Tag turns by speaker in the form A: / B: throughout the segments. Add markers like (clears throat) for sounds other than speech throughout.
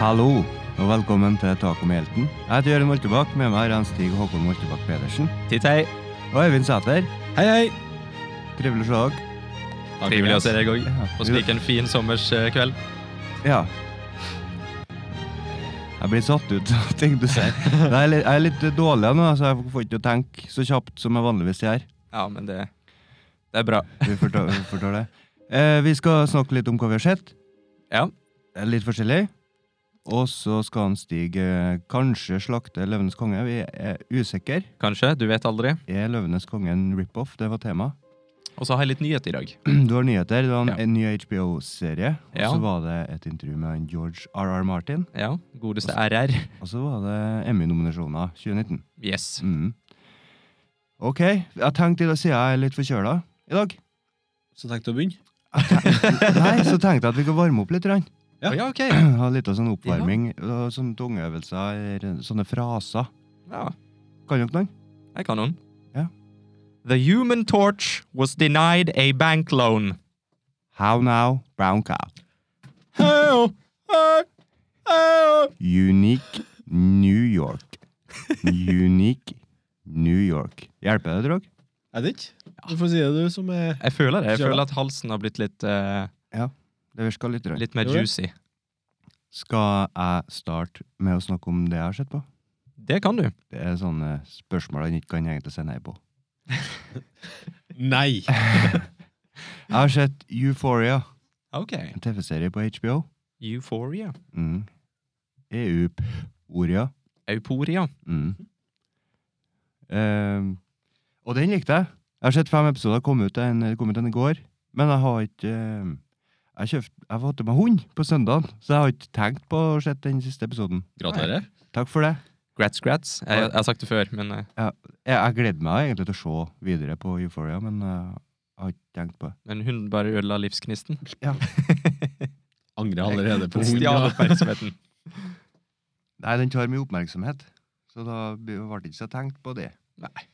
A: Hallo, og velkommen til Taco med helten. Jeg heter Jørund Moltebakk, med meg er han Stig Håkon Moltebakk Pedersen.
B: Titt hei.
A: Og Øyvind Sæter.
C: Hei, hei!
A: Trivelig å se dere.
B: Trivelig å se deg òg.
A: Ja.
B: Og slik en fin sommers eh, kveld.
A: Ja. Jeg blir satt ut (laughs) av ting du sier. Jeg er litt, jeg er litt dårlig nå, så jeg får ikke til å tenke så kjapt som jeg vanligvis gjør.
B: Ja, men det, det er bra.
A: Vi får ta- vi får ta det. Eh, vi skal snakke litt om hva vi har sett.
B: Ja.
A: Eh, Litt forskjellig. Og så skal han Stig eh, kanskje slakte Løvenes konge. Vi er usikre.
B: Kanskje. Du vet aldri.
A: Er Løvenes konge en rip-off? Det var tema. (clears throat)
B: Og så har jeg litt nyhet i dag.
A: Du har nyheter. Det var en,
B: Ja.
A: en ny HBO-serie. Og
B: Ja.
A: så var det et intervju med han George R.R. Martin.
B: Ja. Godeste RR.
A: Og så var det Emmy-nominasjoner 2019.
B: Yes.
A: Mhm. OK. Jeg tenkte i dag, siden jeg er litt forkjøla i dag
C: Så tenkte jeg å begynne.
A: (laughs) Nei, så tenkte jeg at vi kan varme opp litt. grann.
B: Å,
C: Ja.
B: ja ok.
A: (clears throat) Ha litt av sånn oppvarming. og Sånne tungeøvelser, eller sånne fraser.
B: Ja,
A: Kan dere noen?
B: jeg kan noen.
A: Ja.
B: The human torch was denied a bank loan.
A: How now, brown cow.
B: Ah!
A: Unique New York. Unique New York. Hjelper det dere?
C: Er det ikke? Du får si det, du som er
B: Jeg føler det. Jeg
C: Ja.
B: føler at halsen har blitt litt, eh,
A: Det virker litt rart.
B: litt mer
C: Jo, ja.
B: juicy.
A: Skal jeg starte med å snakke om det jeg har sett på?
B: Det kan du.
A: Det er sånne spørsmål han ikke kan egentlig si nei på.
C: Nei!
A: Jeg har sett Euphoria,
B: Ok.
A: en TV-serie på HBO.
B: Euphoria.
A: Mm. EU-oria.
B: Euporia.
A: Mm. Eh, og den likte jeg. Jeg har sett fem episoder, kom ut en, kom ut en i går. Men jeg har ikke eh, Jeg kjøpt, jeg fått meg hund på søndagen, så jeg har ikke tenkt på å se den siste episoden.
C: Gratulerer.
A: Takk for det.
B: Grats, grats. Jeg, jeg har sagt det før, men eh,
A: Jeg, jeg gleder meg egentlig til å se videre på Euphoria, men eh, jeg har ikke tenkt på det.
B: men hun bare ødela livsgnisten.
C: Angrer allerede på hunden.
B: Stjal
C: Ja.
B: oppmerksomheten.
A: Nei, den tar mye oppmerksomhet, så da ble ble det ikke så tenkt på det.
B: Nei.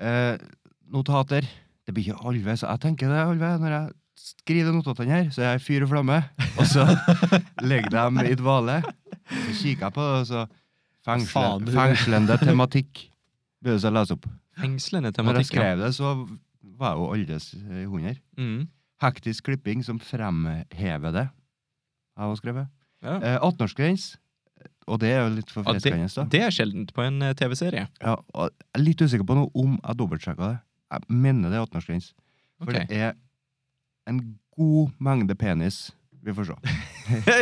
A: Eh, notater. Det blir ikke alve, så jeg tenker det, alve. Når jeg skriver notatene her, så er jeg fyr og flamme. Og
B: (laughs)
A: så legger dem i dvale. Så kikker jeg på det, og så fengsle,
C: Faen, du.
A: Fengslende tematikk bør det seg lese opp.
B: Fengslende
A: Når jeg
B: tematikk. ja.
A: skrev det, så var jeg jo alles eh, hunder.
B: Mm.
A: Hektisk klipping som fremhever det. Jeg har også skrevet.
B: Ja.
A: Eh, 18-årsgrense. Og det er jo litt
B: Ja, det,
A: forfriskende. da.
B: det er sjeldent på en eh, TV-serie.
A: Ja, og jeg er litt usikker på noe om jeg dobbeltsjekka det. Jeg mener det er 18-årsgrense. For
B: Ok.
A: det er en god mengde penis. Vi får se. (laughs)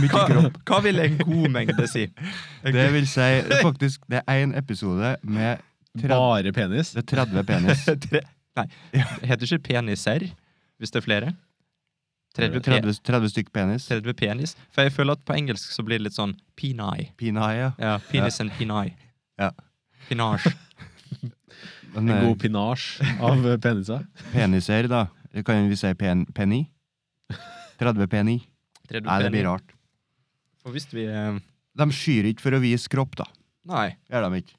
A: Mye
B: Hva,
A: kropp.
B: (laughs) hva vil en god mengde si?
A: (laughs) Det vil si faktisk det er én episode med tred-
C: Bare penis.
A: det er 30
B: (laughs)
A: penis.
B: Tre- Nei, heter ikke peniser hvis det er flere? 30, 30,
A: 30, 30 stykk penis.
B: penis? For jeg føler at på engelsk så blir det litt sånn penai.
A: Pinaya.
B: Ja, penis and penai.
A: Ja. (laughs)
B: Penage.
A: Men
C: En
A: eh,
C: god pinasj av eh, peniser.
A: peniser, da. Kan vi si pen, penny? 30 penny.
B: 30
A: Nei, det blir
B: penis.
A: rart.
B: Og hvis vi eh,
A: De skyr ikke for å vise kropp, da.
B: Nei.
A: Gjør de ikke.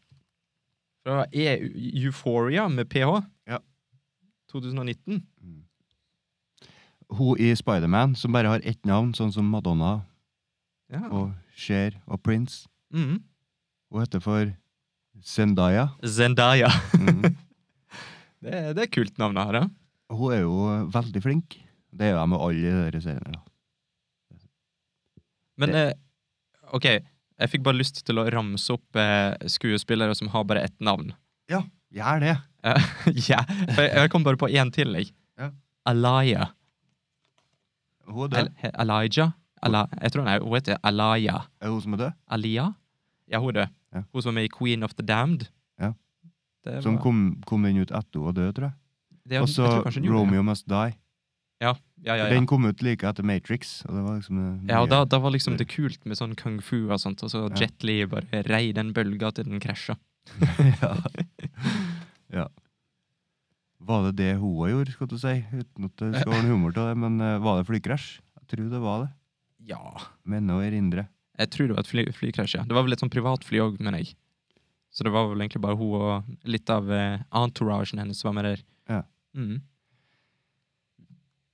B: Fra E- Euphoria med PH.
A: Ja.
B: 2019.
A: Hun i Spiderman som bare har ett navn, sånn som Madonna
B: Ja.
A: og Cher og Prince.
B: Mm.
A: Hun heter for Zendaya.
B: Zendaya.
A: Mhm.
B: (laughs) Det, er- det er kult navn å ha, da.
A: Hun er jo veldig flink. Det er jo jeg med alle i disse seriene. da.
B: Men eh, OK, jeg fikk bare lyst til å ramse opp eh, skuespillere som har bare ett navn. (laughs)
A: Gjør det!
B: Eh, ja, for jeg, jeg kom bare på én til, jeg.
A: Ja.
B: Alaya.
A: Hun er
B: El,
A: død.
B: he- Elijah? Ala, jeg tror hun, er, hun heter Alaya.
A: Er det hun som er død?
B: Alia? Ja, hun er død.
A: Ja.
B: Hun som er med i Queen of the Damned.
A: Ja.
B: Det var,
A: Som kom, kom den ut etter hun var død, tror jeg.
B: det-
A: Og
B: jeg
A: så
B: tror kanskje hun gjorde det.
A: Romeo Must Die.
B: Ja, ja, ja.
A: Den kom ut like etter Matrix. Og det var liksom det
B: ja og da,
A: nye.
B: da var liksom det kult med sånn kung fu og sånt, og så
A: Ja.
B: Jet Li bare rei den bølga til den krasja.
A: (laughs) ja. (laughs) ja. Var det det hun gjorde, skal du si? Uten at det skal være noe humor til det, men eh, var det flykrasj? Jeg tror det var det.
B: Ja.
A: Men å erindre.
B: Jeg tror det var et fly, flykrasj, ja. Det var vel et sånn privatfly òg, mener jeg. Så det var vel egentlig bare hun og litt av eh, entouragen hennes som var med der.
A: Ja.
B: Mm.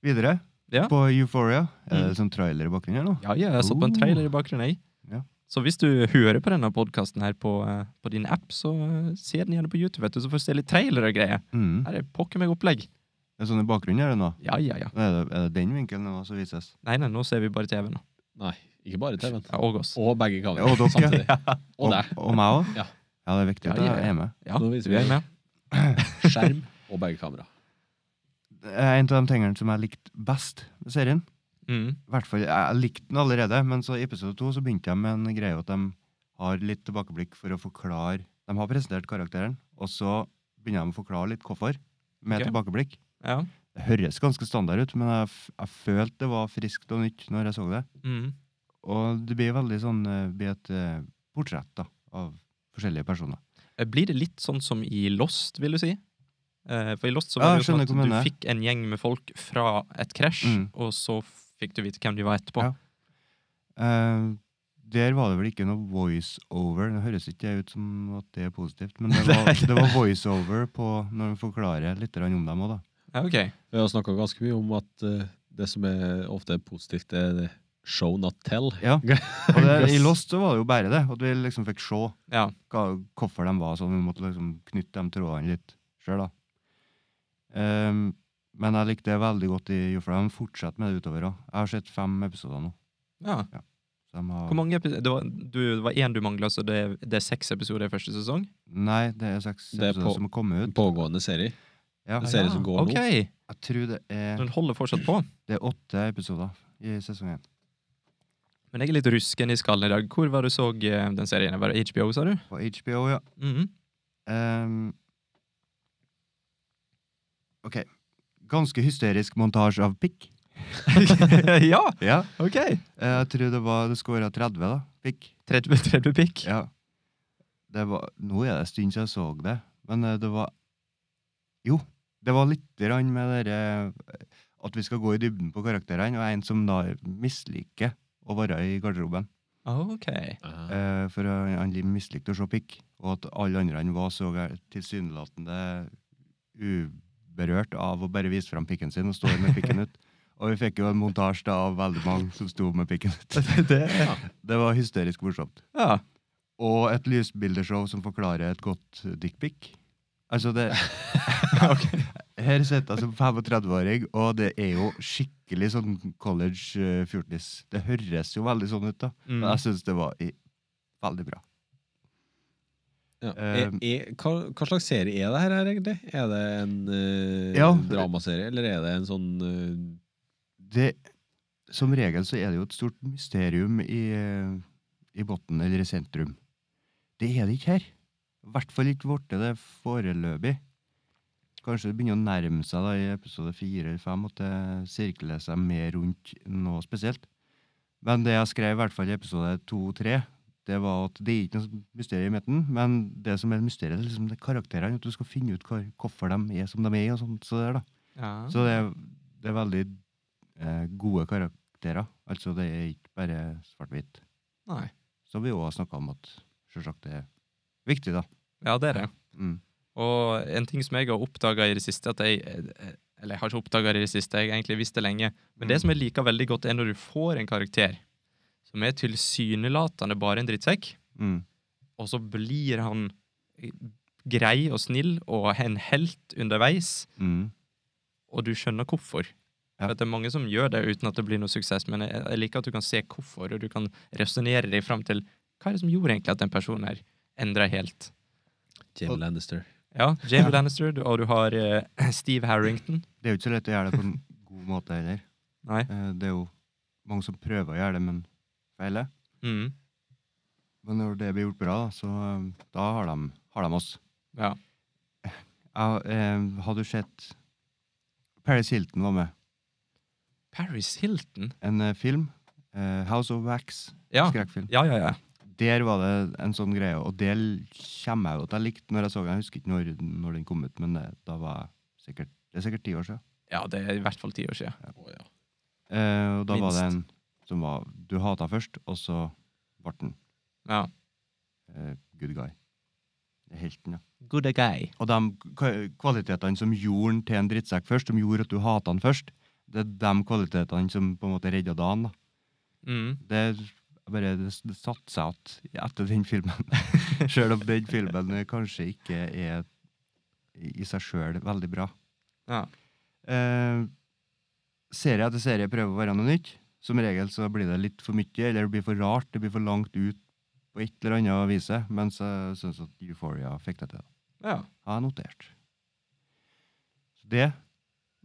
A: Videre
B: Ja.
A: på Euphoria. Er det sånn trailer i bakgrunnen her nå?
B: Mm. ja, ja, jeg så på en
A: Oh.
B: trailer i bakgrunnen, jeg.
A: Ja.
B: Så hvis du hører på denne podkasten her på, eh, på din app, så eh, se den gjerne på YouTube, vet du, så får du se litt trailer og greier.
A: Mm.
B: Her er pokker meg opplegg.
A: Det er sånn i bakgrunnen er det nå.
B: Ja, ja, ja.
A: Er det, er det den vinkelen nå som vises?
B: Nei, nei, nå ser vi bare TV nå.
C: Nei, ikke bare TV-en.
B: Ja, og oss.
C: Og begge
A: Og
C: kameraene
A: dere.
C: samtidig. Og
A: Og,
C: deg.
A: og meg òg?
C: Ja.
A: ja, det er viktig at
B: Ja, ja,
A: jeg er med.
B: Ja,
C: Nå
B: du
C: viser vi
B: er
C: det.
B: med.
C: Skjerm og begge kamera.
A: Det er en av de tingene som jeg likte best med serien.
B: Mm.
A: I hvert fall, Jeg likte den allerede, men så i episode to så begynte jeg med en greie at de har litt tilbakeblikk for å forklare De har presentert karakteren, og så begynner de å forklare litt hvorfor, med
B: Ok.
A: tilbakeblikk.
B: Ja.
A: Det høres ganske standard ut, men jeg, f- jeg følte det var friskt og nytt når jeg så det.
B: Mm.
A: Og det blir veldig sånn eh, blir et eh, portrett da, av forskjellige personer.
B: Eh, Blir det litt sånn som i Lost, vil du si? Eh, For i Lost så
A: Ja,
B: var
A: jeg
B: det jo sånn
A: skjønner
B: at
A: hva du
B: du
A: mener.
B: fikk en gjeng med folk fra et krasj,
A: Mm.
B: og så fikk du vite hvem de var etterpå.
A: Ja. Eh, der var det vel ikke noe voiceover. Det høres ikke ut som at det er positivt, men det var, det var voiceover på når vi forklarer litt grann om dem òg, da.
B: Ja, ok.
C: Vi har snakka ganske mye om at eh, det som er ofte er positivt, det er det show not tell.
A: Ja. Og det, I Lost så var det jo bare det, at vi liksom fikk se
B: Ja.
A: hva, hvorfor de var sånn. Vi måtte liksom knytte de trådene litt sjøl, da. Ehm, men jeg likte det veldig godt i Jofla. De fortsetter med det utover òg. Jeg har sett fem episoder nå.
B: ja.
A: Så de har,
B: Hvor mange episoder? Det var- du- det var én du mangla, så det, det er seks episoder i første sesong?
A: Nei, det er seks
C: Det er på-
A: episoder som har kommet
C: En
A: ut.
C: pågående serie.
A: Ja,
C: Det ser ut som går
B: ok,
A: jeg tror det
B: så
A: er,
B: den holder fortsatt på.
A: det er åtte episoder i sesong én.
B: Men jeg er litt rusken i skallen i dag. Hvor var det du så eh, den serien? Var det HBO, sa du?
A: På HBO, ja. (laughs)
B: Mhm.
A: Ehm, ok. Ganske hysterisk montasje av pikk.
B: ja,
A: Ja.
B: ok.
A: Jeg tror det var det skulle være 30, da. Pikk.
B: 30, 30 pikk.
A: Ja. Det var, nå er det en stund siden jeg så det, men eh, det var Jo, det var litt grann med det derre at vi skal gå i dybden på karakterene, og en som da misliker å være i garderoben.
B: Ok.
C: Ja.
A: Eh, for han, han mislikte å se pikk, og at alle andre han var så gæ- tilsynelatende uberørt av å bare vise fram pikken sin og stå med pikken ut. Og vi fikk jo en montasje da av veldig mange som sto med pikken ut. Det var hysterisk morsomt.
B: Ja.
A: Og et lysbildeshow som forklarer et godt dickpic. Altså, det Her sitter jeg som 35-åring, og det er jo skikkelig sånn college eh, fjortis. Det høres jo veldig sånn ut, da.
B: Mm.
A: Men jeg syns det var i, veldig bra.
C: Ja. Er,
A: Ehm.
C: er, hva, hva slags serie er det her, her egentlig? Er det en eh,
A: Ja.
C: dramaserie, eller er det en sånn eh,
A: Det, som regel så er det jo et stort mysterium i, eh, i bunnen eller i sentrum. Det er det ikke her. I hvert fall ikke blitt det foreløpig. Kanskje det begynner å nærme seg da i episode fire eller fem at det sirkler seg mer rundt noe spesielt. Men det jeg skrev i hvert fall i episode to-tre, det var at det er ikke noe mysterium i midten, men det som er et mysterium, det er liksom det er karakterene, at du skal finne ut hva- hvorfor de er som de er, og sånt så der, da.
B: Ja.
A: Så det er, det er veldig eh, gode karakterer. Altså det er ikke bare svart-hvitt.
B: Nei.
A: Som vi òg har snakka om at selvsagt det er viktig, da.
B: ja, det er det.
A: Mm.
B: Og en ting som jeg har oppdaga i det siste at jeg, Eller jeg har ikke oppdaga det i det siste, jeg har egentlig visst det lenge. Men det som jeg liker veldig godt, er når du får en karakter som er tilsynelatende bare en drittsekk,
A: Mm.
B: og så blir han grei og snill og en helt underveis,
A: Mm.
B: og du skjønner hvorfor.
A: Ja.
B: For at det er mange som gjør det uten at det blir noe suksess, men jeg, jeg liker at du kan se hvorfor, og du kan resonnere deg fram til hva er det som gjorde egentlig at den personen her endra helt.
C: Jamie
A: Og-
C: Lannister?
B: Ja, Jamie Lannister, du- og du har eh, Steve Harrington.
A: Det er jo ikke så lett å gjøre det på en (laughs) god måte heller.
B: Nei.
A: Eh, det er jo mange som prøver å gjøre det, men feiler.
B: Mm.
A: Men når det blir gjort bra, da, så eh, da har de, har de oss.
B: Ja.
A: Ja, eh, har du sett Paris Hilton var med.
B: Paris Hilton?
A: En eh, film. Eh, House of Wax.
B: Ja.
A: Skrekkfilm.
B: Ja, ja, ja.
A: der var det en sånn greie, og det l- kommer jeg jo til å like når jeg så den. Jeg husker ikke når, når den kom ut, men det, da var jeg sikkert, det er sikkert ti år siden.
B: Ja, det er i hvert fall ti år siden.
C: Å, ja.
A: Eh, og da var det en
B: Minst.
A: som var Du hata først, og så ble den
B: Ja.
A: eh, good guy. Det er Helten, ja.
B: Good guy.
A: Og de k- kvalitetene som gjorde den til en drittsekk først, som gjorde at du hata den først, det er de kvalitetene som på en måte redda dagen. da.
B: Mm.
A: Det, bare det, s- det satte seg igjen etter den filmen. (laughs) Sjøl om den filmen eh, kanskje ikke er i i seg sjøl veldig bra.
B: Ja.
A: Eh, serie etter serie prøver å være noe nytt. Som regel så blir det litt for mye, eller det blir for rart. Det blir for langt ut på et eller annet viset. Mens jeg syns at Euphoria fikk det til.
B: ja.
A: Har jeg notert. Så det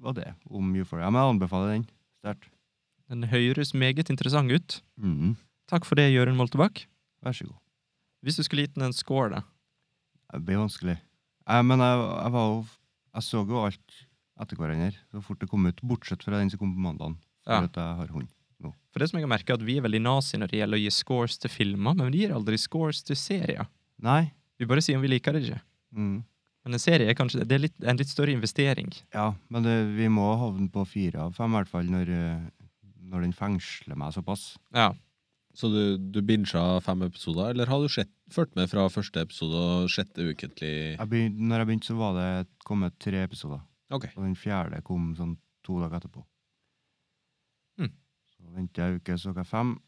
A: var det om Euphoria. Men jeg anbefaler den sterkt.
B: Den høres meget interessant ut.
A: Mhm.
B: Takk for det, Jørund Moltebakk.
A: Vær så god.
B: Hvis du skulle gitt den en score, da?
A: Det blir vanskelig. Jeg, men jeg, jeg var jo Jeg så jo alt etter hverandre så fort det kom ut, bortsett fra den som kom på mandagen. For
B: Ja.
A: at jeg har hund.
B: For det som jeg har merket er at Vi er veldig nazi når det gjelder å gi scores til filmer, men vi gir aldri scores til serier.
A: Nei.
B: Vi bare sier om vi liker det ikke.
A: Mm.
B: Men en serie er kanskje det er litt, en litt større investering.
A: Ja, men det, vi må havne på fire av fem, i hvert fall, når, eh, når den fengsler meg såpass.
B: Ja.
C: Så du, du bincha fem episoder, eller har du sett, fulgt med fra første episode og sjette ukentlig?
A: Jeg begyn- når jeg begynte, så var det kommet tre episoder.
C: Ok.
A: Og den fjerde kom sånn to dager etterpå.
B: Mm.
A: Så ventet jeg en uke, så jeg fem.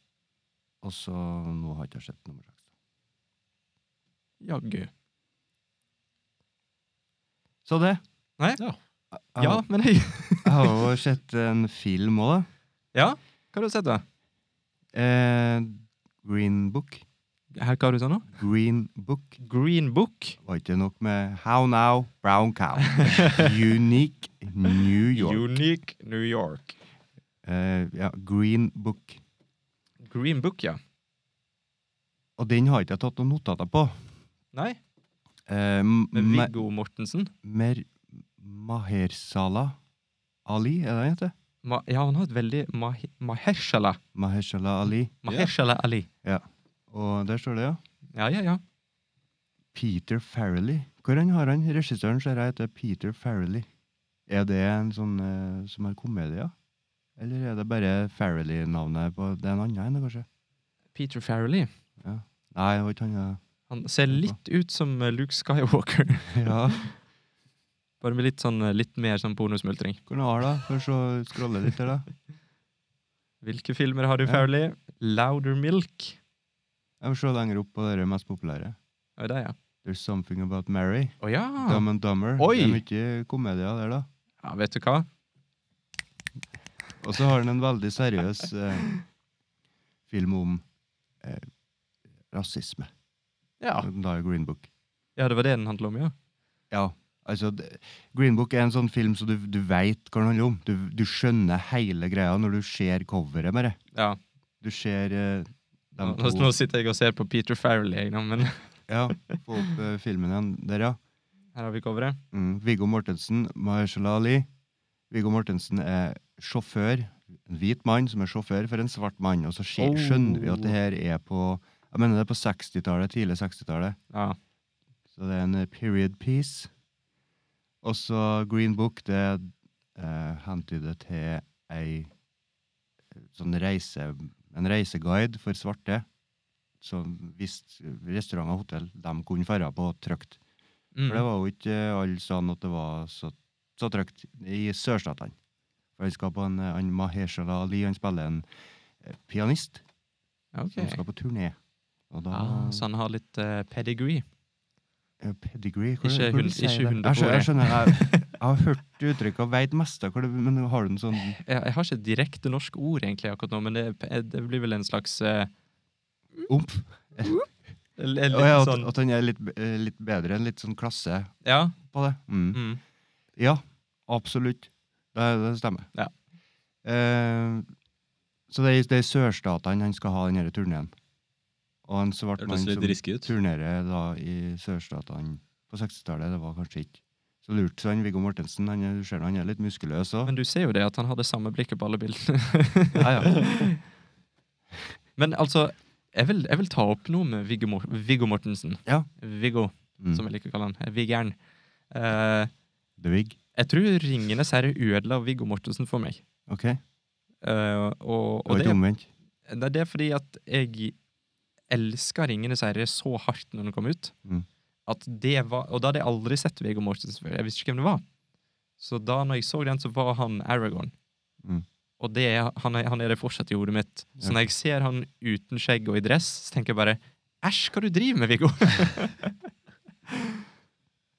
A: Og så nå har jeg ikke sett nummer seks.
B: Jaggu.
A: Så det.
B: Nei.
C: Ja.
A: Jeg,
B: Ja, men hei.
A: jeg har jo sett en film òg, da.
B: Ja? Hva har du sett, da?
A: Eh, Green Book.
B: Her, hva har du sagt nå?
A: Green Book.
B: Green Book.
A: Var ikke nok med How Now, Brown Cow. Unique New York.
B: Unique New York.
A: Eh, ja, Green Book.
B: Green Book, ja.
A: Og den har ikke jeg tatt noen notater på.
B: Nei,
A: Eh, m-
B: med
A: me-
B: Viggo Mortensen.
A: Mer Mahershala Ali, er det han heter?
B: Ma, ja, han har et veldig Mah Mahershala.
A: Mahershala Ali.
B: Mahershala Ali.
A: Og der står det, ja.
B: Ja, ja, ja.
A: Peter Farrelly. Hvor han har han? Regissøren ser jeg heter Peter Farrelly. Er det en sånn eh, som har komedier? Eller er det bare Farrelly-navnet på Det er en annen en, kanskje?
B: Peter Farrelly.
A: Nei, det var ikke han. ja.
B: Han ser litt ut som eh, Luke Skywalker. (laughs)
A: Ja,
B: Bare med litt sånn eh, litt mer sånn bonusmultring.
A: (laughs) Hvor han har da? For så scrolle litt her, da.
B: Hvilke filmer har du,
A: Ja.
B: Farrelly? Louder Milk.
A: Jeg må se lenger opp på det mest populære.
B: Å, det er jeg.
A: There's Something About Mary.
B: Å ja.
A: Dumb and Dumber.
B: Ah. Oi!
A: Det er mye komedier der, da.
B: ja! Vet du hva?
A: Og så har han en veldig seriøs
B: (laughs)
A: eh, film om eh, rasisme.
B: Ja.
A: Da er Green Book.
B: ja, det var det den handler om, ja.
A: Ja, altså det- Green Book er en sånn film så du, du veit hva den handler om. Du, du skjønner hele greia når du ser coveret med det.
B: ja.
A: Du ser eh, dem
B: Nå,
A: to
B: nå sitter jeg og ser på Peter Farrelly, jeg, nå, men (laughs) her
A: Ja, få opp eh, filmen igjen der, ja.
B: har vi coveret.
A: Mm. Viggo Mortensen, Mahershala Ali. Viggo Mortensen er sjåfør. En hvit mann som er sjåfør for en svart mann. Og så skje-
B: Oh.
A: skjønner vi at det her er på Jeg mener det er på 60-tallet, tidlig 60-tallet.
B: Ja.
A: Så det er en eh, period piece. Og så Green Book, det eh, hentyder til ei sånn reise, en reiseguide for svarte. Som visste restauranter og hotell de kunne dra på trygt. For det
B: Mm.
A: var jo ikke eh, alle steder at det var så, så trygt i sørstatene. For han skal på en, eh, han Mahershala Ali han spiller en eh, pianist
B: Ja, ok.
A: som skal på turné. Og da
B: Ah, så han har litt eh, pedigree.
A: Eh, Pedigree? Hvor,
B: Ikke
A: hvor
B: hund-
A: sier
B: ikke
A: det? Jeg
B: hundekåre.
A: skjønner, jeg, skjønner
B: (laughs)
A: jeg, jeg har hørt det uttrykket og veit mest av hva det men har du en sånn
B: Jeg, jeg har ikke et direkte norsk ord egentlig akkurat nå, men det, er- det blir vel en slags eh,
A: omf?
B: l-
A: Å
B: l- Litt
A: ja, at,
B: sånn
A: at han er litt, eh, litt bedre, en litt sånn klasse
B: Ja.
A: på det? Mm.
B: Mm.
A: Ja, absolutt. Det, det stemmer.
B: Ja.
A: Eh, så det er, det er i sørstatene han skal ha denne turneen. Og en svart mann
C: Hørtes litt
A: som
C: risky ut.
A: turnerer da i sørstatene på 60-tallet, det var kanskje ikke så lurt. Så han Viggo Mortensen, han er, du ser han er litt muskuløs òg.
B: Men du ser jo det at han hadde samme blikket på alle bildene.
A: (laughs)
B: (laughs)
A: Ja, ja.
B: Men altså, jeg vil, jeg vil ta opp noe med Viggo, Mor Viggo Mortensen.
A: Ja.
B: Viggo,
A: Mm.
B: som jeg liker å kalle han. Eh, Viggeren. Eh,
A: The Wig.
B: jeg tror 'Ringenes herre' ødela Viggo Mortensen for meg.
A: Ok.
B: Eh,
A: Det
B: og, og
A: var
B: det,
A: ikke omvendt.
B: Nei, det er fordi at jeg elska 'Ringenes herre' så hardt når den kom ut.
A: Mm.
B: At det var, og da hadde jeg aldri sett Viggo Mortensen før. Jeg visste ikke hvem det var. Så da når jeg så den, så var han Aragorn.
A: Mm.
B: Og det er, han, er, han er det fortsatt i hodet mitt. Så når jeg ser han uten skjegg og i dress, så tenker jeg bare Æsj, hva du driver med, Viggo? (laughs)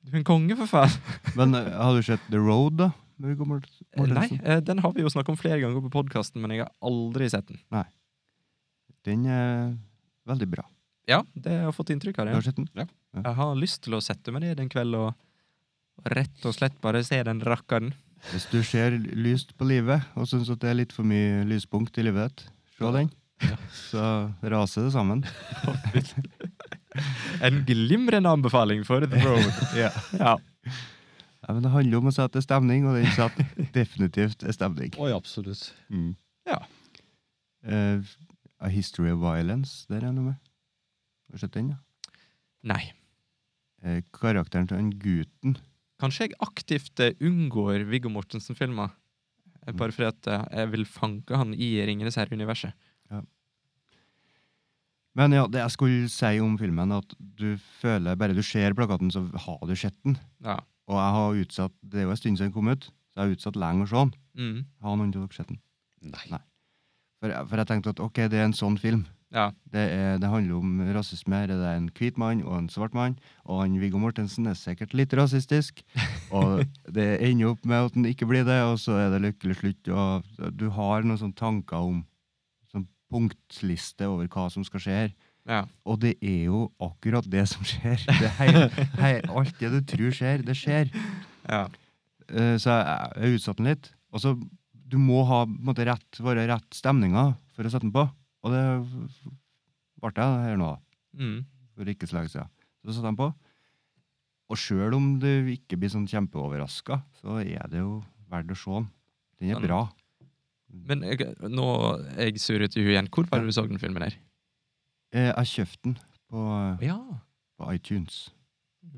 B: du er en konge, for faen.
A: Men eh, har du sett The Road, da? Når vi kommer til-
B: Eh, Nei,
A: Mortensen?
B: eh, den har vi jo snakka om flere ganger på podkasten, men jeg har aldri sett den.
A: Den er veldig bra.
B: Ja, det har jeg fått inntrykk av.
A: Du
B: det.
A: har sett den?
B: Jeg har lyst til å sette meg ned en kveld og og rett og slett bare se den rakkeren.
A: Hvis du ser lyst på livet, og syns at det er litt for mye lyspunkt i livet ditt, se den. Så raser det
B: (laughs)
A: sammen.
B: En glimrende anbefaling for The Road.
A: Ja.
B: (laughs) Ja.
A: men det handler om å sette stemning, og den satte definitivt stemning.
C: Oi, absolutt.
A: Mm.
B: Ja.
A: Eh, A History of Violence, der er noe med. Har du sett den, ja?
B: Nei.
A: Eh, karakteren til den gutten.
B: Kanskje jeg aktivt eh, unngår Viggo Mortensen-filmer. eh, Bare fordi at eh, jeg vil fanke han i Ringenes herre-universet.
A: Men ja, det jeg skulle si om filmen, at du føler Bare du ser plakaten, så har du sett den.
B: Ja.
A: Og jeg har utsatt Det er jo en stund siden den kom ut, så jeg har utsatt lenge å se den.
B: Mm.
A: Har noen av dere sett den?
C: Nei.
A: Nei. For, jeg- for jeg tenkte at ok, det er en sånn film.
B: Ja.
A: Det, er, det handler om rasisme. her er Det er en hvit mann og en svart mann. Og han Viggo Mortensen er sikkert litt rasistisk. Og det ender opp med at han ikke blir det, og så er det lykkelig slutt. Og du har noen sånne tanker om sånn punktliste over hva som skal skje her.
B: ja.
A: Og det er jo akkurat det som skjer. Det er hei, hei, alt det du tror skjer, det skjer.
B: ja.
A: Eh, Så jeg, jeg utsatte den litt. Og så du må ha på en måte, rett, være rett stemninger for å sette den på. Og det ble jeg her nå, da,
B: Mm.
A: for ikke så lenge siden. Så satte jeg den på. Og sjøl om du ikke blir sånn kjempeoverraska, så er det jo verdt å se den. Den
B: Sånn.
A: er bra.
B: Men jeg, nå er jeg sur ut i huet igjen. Hvor var det du så den filmen her?
A: Eh, Jeg kjøpte den på,
B: Ja.
A: på iTunes.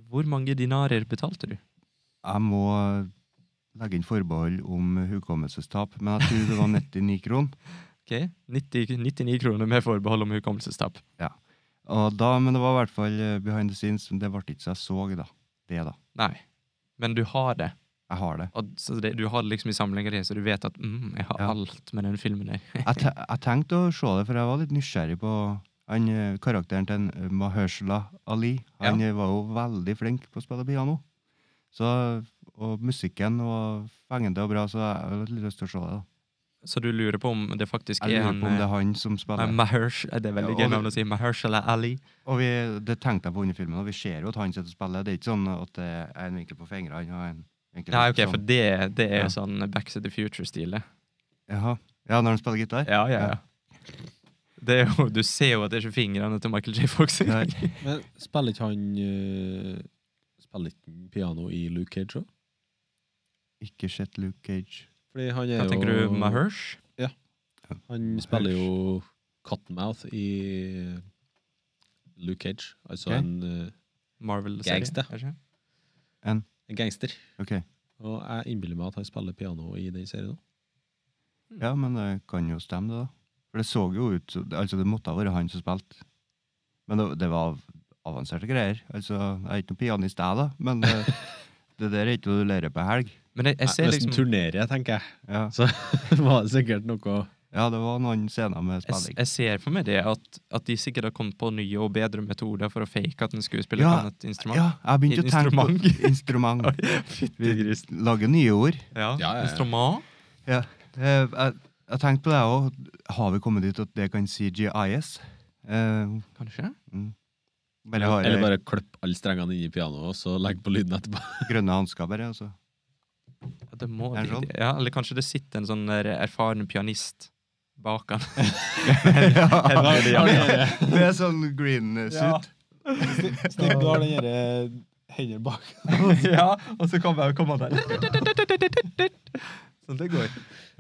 B: Hvor mange dinarer betalte du?
A: Jeg må legge inn forbehold om hukommelsestap, men jeg tror det var 99 kroner.
B: Ok, 90, 99 kroner med forbehold om hukommelsestap.
A: Og da, men det var i hvert fall eh, behind the scenes. men Det ble ikke så jeg så da. det, da.
B: Nei. Men du har det.
A: Jeg har det.
B: Og, så det du har det liksom i samlinga di, så du vet at mm, jeg har
A: Ja.
B: alt med den filmen her.
A: Jeg, te jeg tenkte å se det, for jeg var litt nysgjerrig på han, eh, karakteren til en, eh, Mahershala Ali. Han eh, var jo veldig flink på å spille piano. Så, og musikken var fengende og bra, så jeg har litt lyst til å se det. da.
B: Så du lurer på om det faktisk
A: Jeg
B: er
A: lurer
B: han
A: på om det
B: eh,
A: er han som spiller.
B: Mahersh, Det er veldig
A: Ja,
B: gøy
A: og det-
B: navn å si. Mahershala Ali.
A: Og vi, det tenkte jeg på under filmen, og vi ser jo at han sitter og spiller. Det er ikke sånn at det er en vinkel på fingrene og en vinkel
B: Nei, ok, for det, det er
A: sånn. Ja.
B: jo sånn Back to the Future-stilet.
A: sånn- Jaha. Ja, når han spiller gitar?
B: Ja, ja, ja. Det er jo, du ser jo at det er ikke fingrene til Michael J. Fox engang.
A: Nei.
C: Men spiller ikke han eh, Spiller ikke han piano i Luke Cage òg?
A: Ikke sett Luke Cage.
C: Fordi han
B: (laughs)
C: er
B: Hva tenker
C: jo
B: du, Mahersh?
C: Han spiller jo Cottonmouth i eh, Luke Cage. Altså
A: Ok.
C: en, eh,
B: Marvel-serie?
C: Gangster.
B: er det ikke?
C: en gangster.
A: Ok.
C: Og jeg innbiller meg at han spiller piano i den serien òg.
B: Mm.
A: Ja, men det kan jo stemme, det, da. For det så jo ut som- Altså, det måtte ha vært han som spilte. Men det, det var avanserte greier. Altså, jeg er ikke noen pianist, jeg, da, men
B: (laughs)
A: eh, det der er ikke noe du lærer på helg.
B: Men jeg, jeg ser
C: Hvis han
B: liksom
C: turnerer, tenker jeg,
A: Ja.
C: så var (laughs) det sikkert noe
A: ja, det var noen scener med
B: jeg, s-
A: spilling.
B: jeg ser for meg det at, at de sikkert har kommet på nye og bedre metoder for å fake at en skuespiller
A: Ja,
B: kan et instrument. (laughs)
A: Ja, jeg begynte å tenke på instrument.
B: Fytti grisen.
A: Lage nye ord.
B: Ja,
C: Ja, ja, ja.
B: instrument.
A: Ja. eh, Jeg, jeg tenkte på det òg. Har vi kommet dit at det kan CGIS? Eh,
B: Kanskje?
A: bare har eh,
C: Eller bare klipp alle strengene inn i pianoet, og så legg på lyden (laughs) etterpå.
A: (laughs) grønne hansker, bare. Altså.
B: Ja, det må
A: Er det
B: de-
A: sånn?
B: ja, eller kanskje det sitter en sånn der erfaren pianist bak han.
A: (laughs) ja.
B: Eller- eller-
A: (laughs) Det er sånn green eh,
C: Ja.
A: suit.
C: Stig, du har den derre hendene bak.
B: (laughs) ja, og så kommer jeg- kommer han der. (laughs) Sånn det går.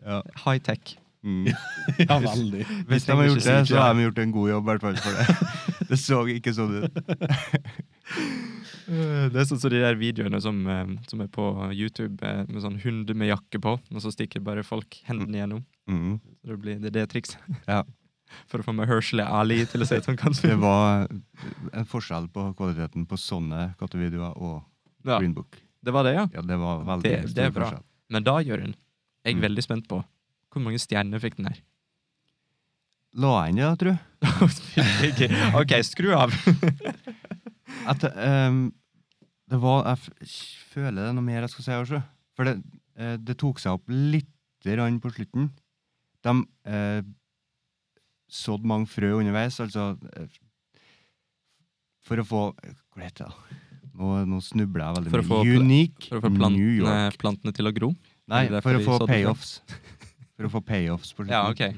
A: Ja.
B: High-tech.
A: Mm.
C: (laughs) Ja, veldig.
A: Hvis de har gjort det, så har de gjort en god jobb, i hvert fall for det. Det så ikke sånn ut.
B: Eh, Det er sånn som de der videoene som, eh, som er på YouTube eh, med sånn hund med jakke på, og så stikker bare folk hendene gjennom.
A: Mm.
B: Så det, blir, det er det trikset.
A: (laughs) Ja.
B: For å få med Hershel Ali til å se ut som han
A: Det
B: spille.
A: var en forskjell på kvaliteten på sånne kattevideoer og
B: Ja,
A: Green Book.
B: det var det, ja.
A: Ja, det var veldig
B: Det- det er
A: stor
B: bra.
A: forskjell.
B: Men da, Jørund, jeg er
A: Mm.
B: veldig spent på Hvor mange stjerner fikk den her?
A: La jeg inn det, tror jeg.
B: (laughs) OK, skru av.
A: At, ehm, det var, jeg f- føler det er noe mer jeg skal si også. For det, eh, det tok seg opp litt grann på slutten. De eh, sådde mange frø underveis, altså eh, For å få Hva heter det? da? Nå, nå snubler jeg veldig
B: For å få pl-
A: mye. Unique
B: For å få
A: New
B: plantene,
A: York.
B: plantene til å gro.
A: Nei,
B: det er
A: for å
B: fordi
A: få
B: sådde frø.
A: payoffs. (laughs) For å få payoffs på slutten.
B: Ja, OK.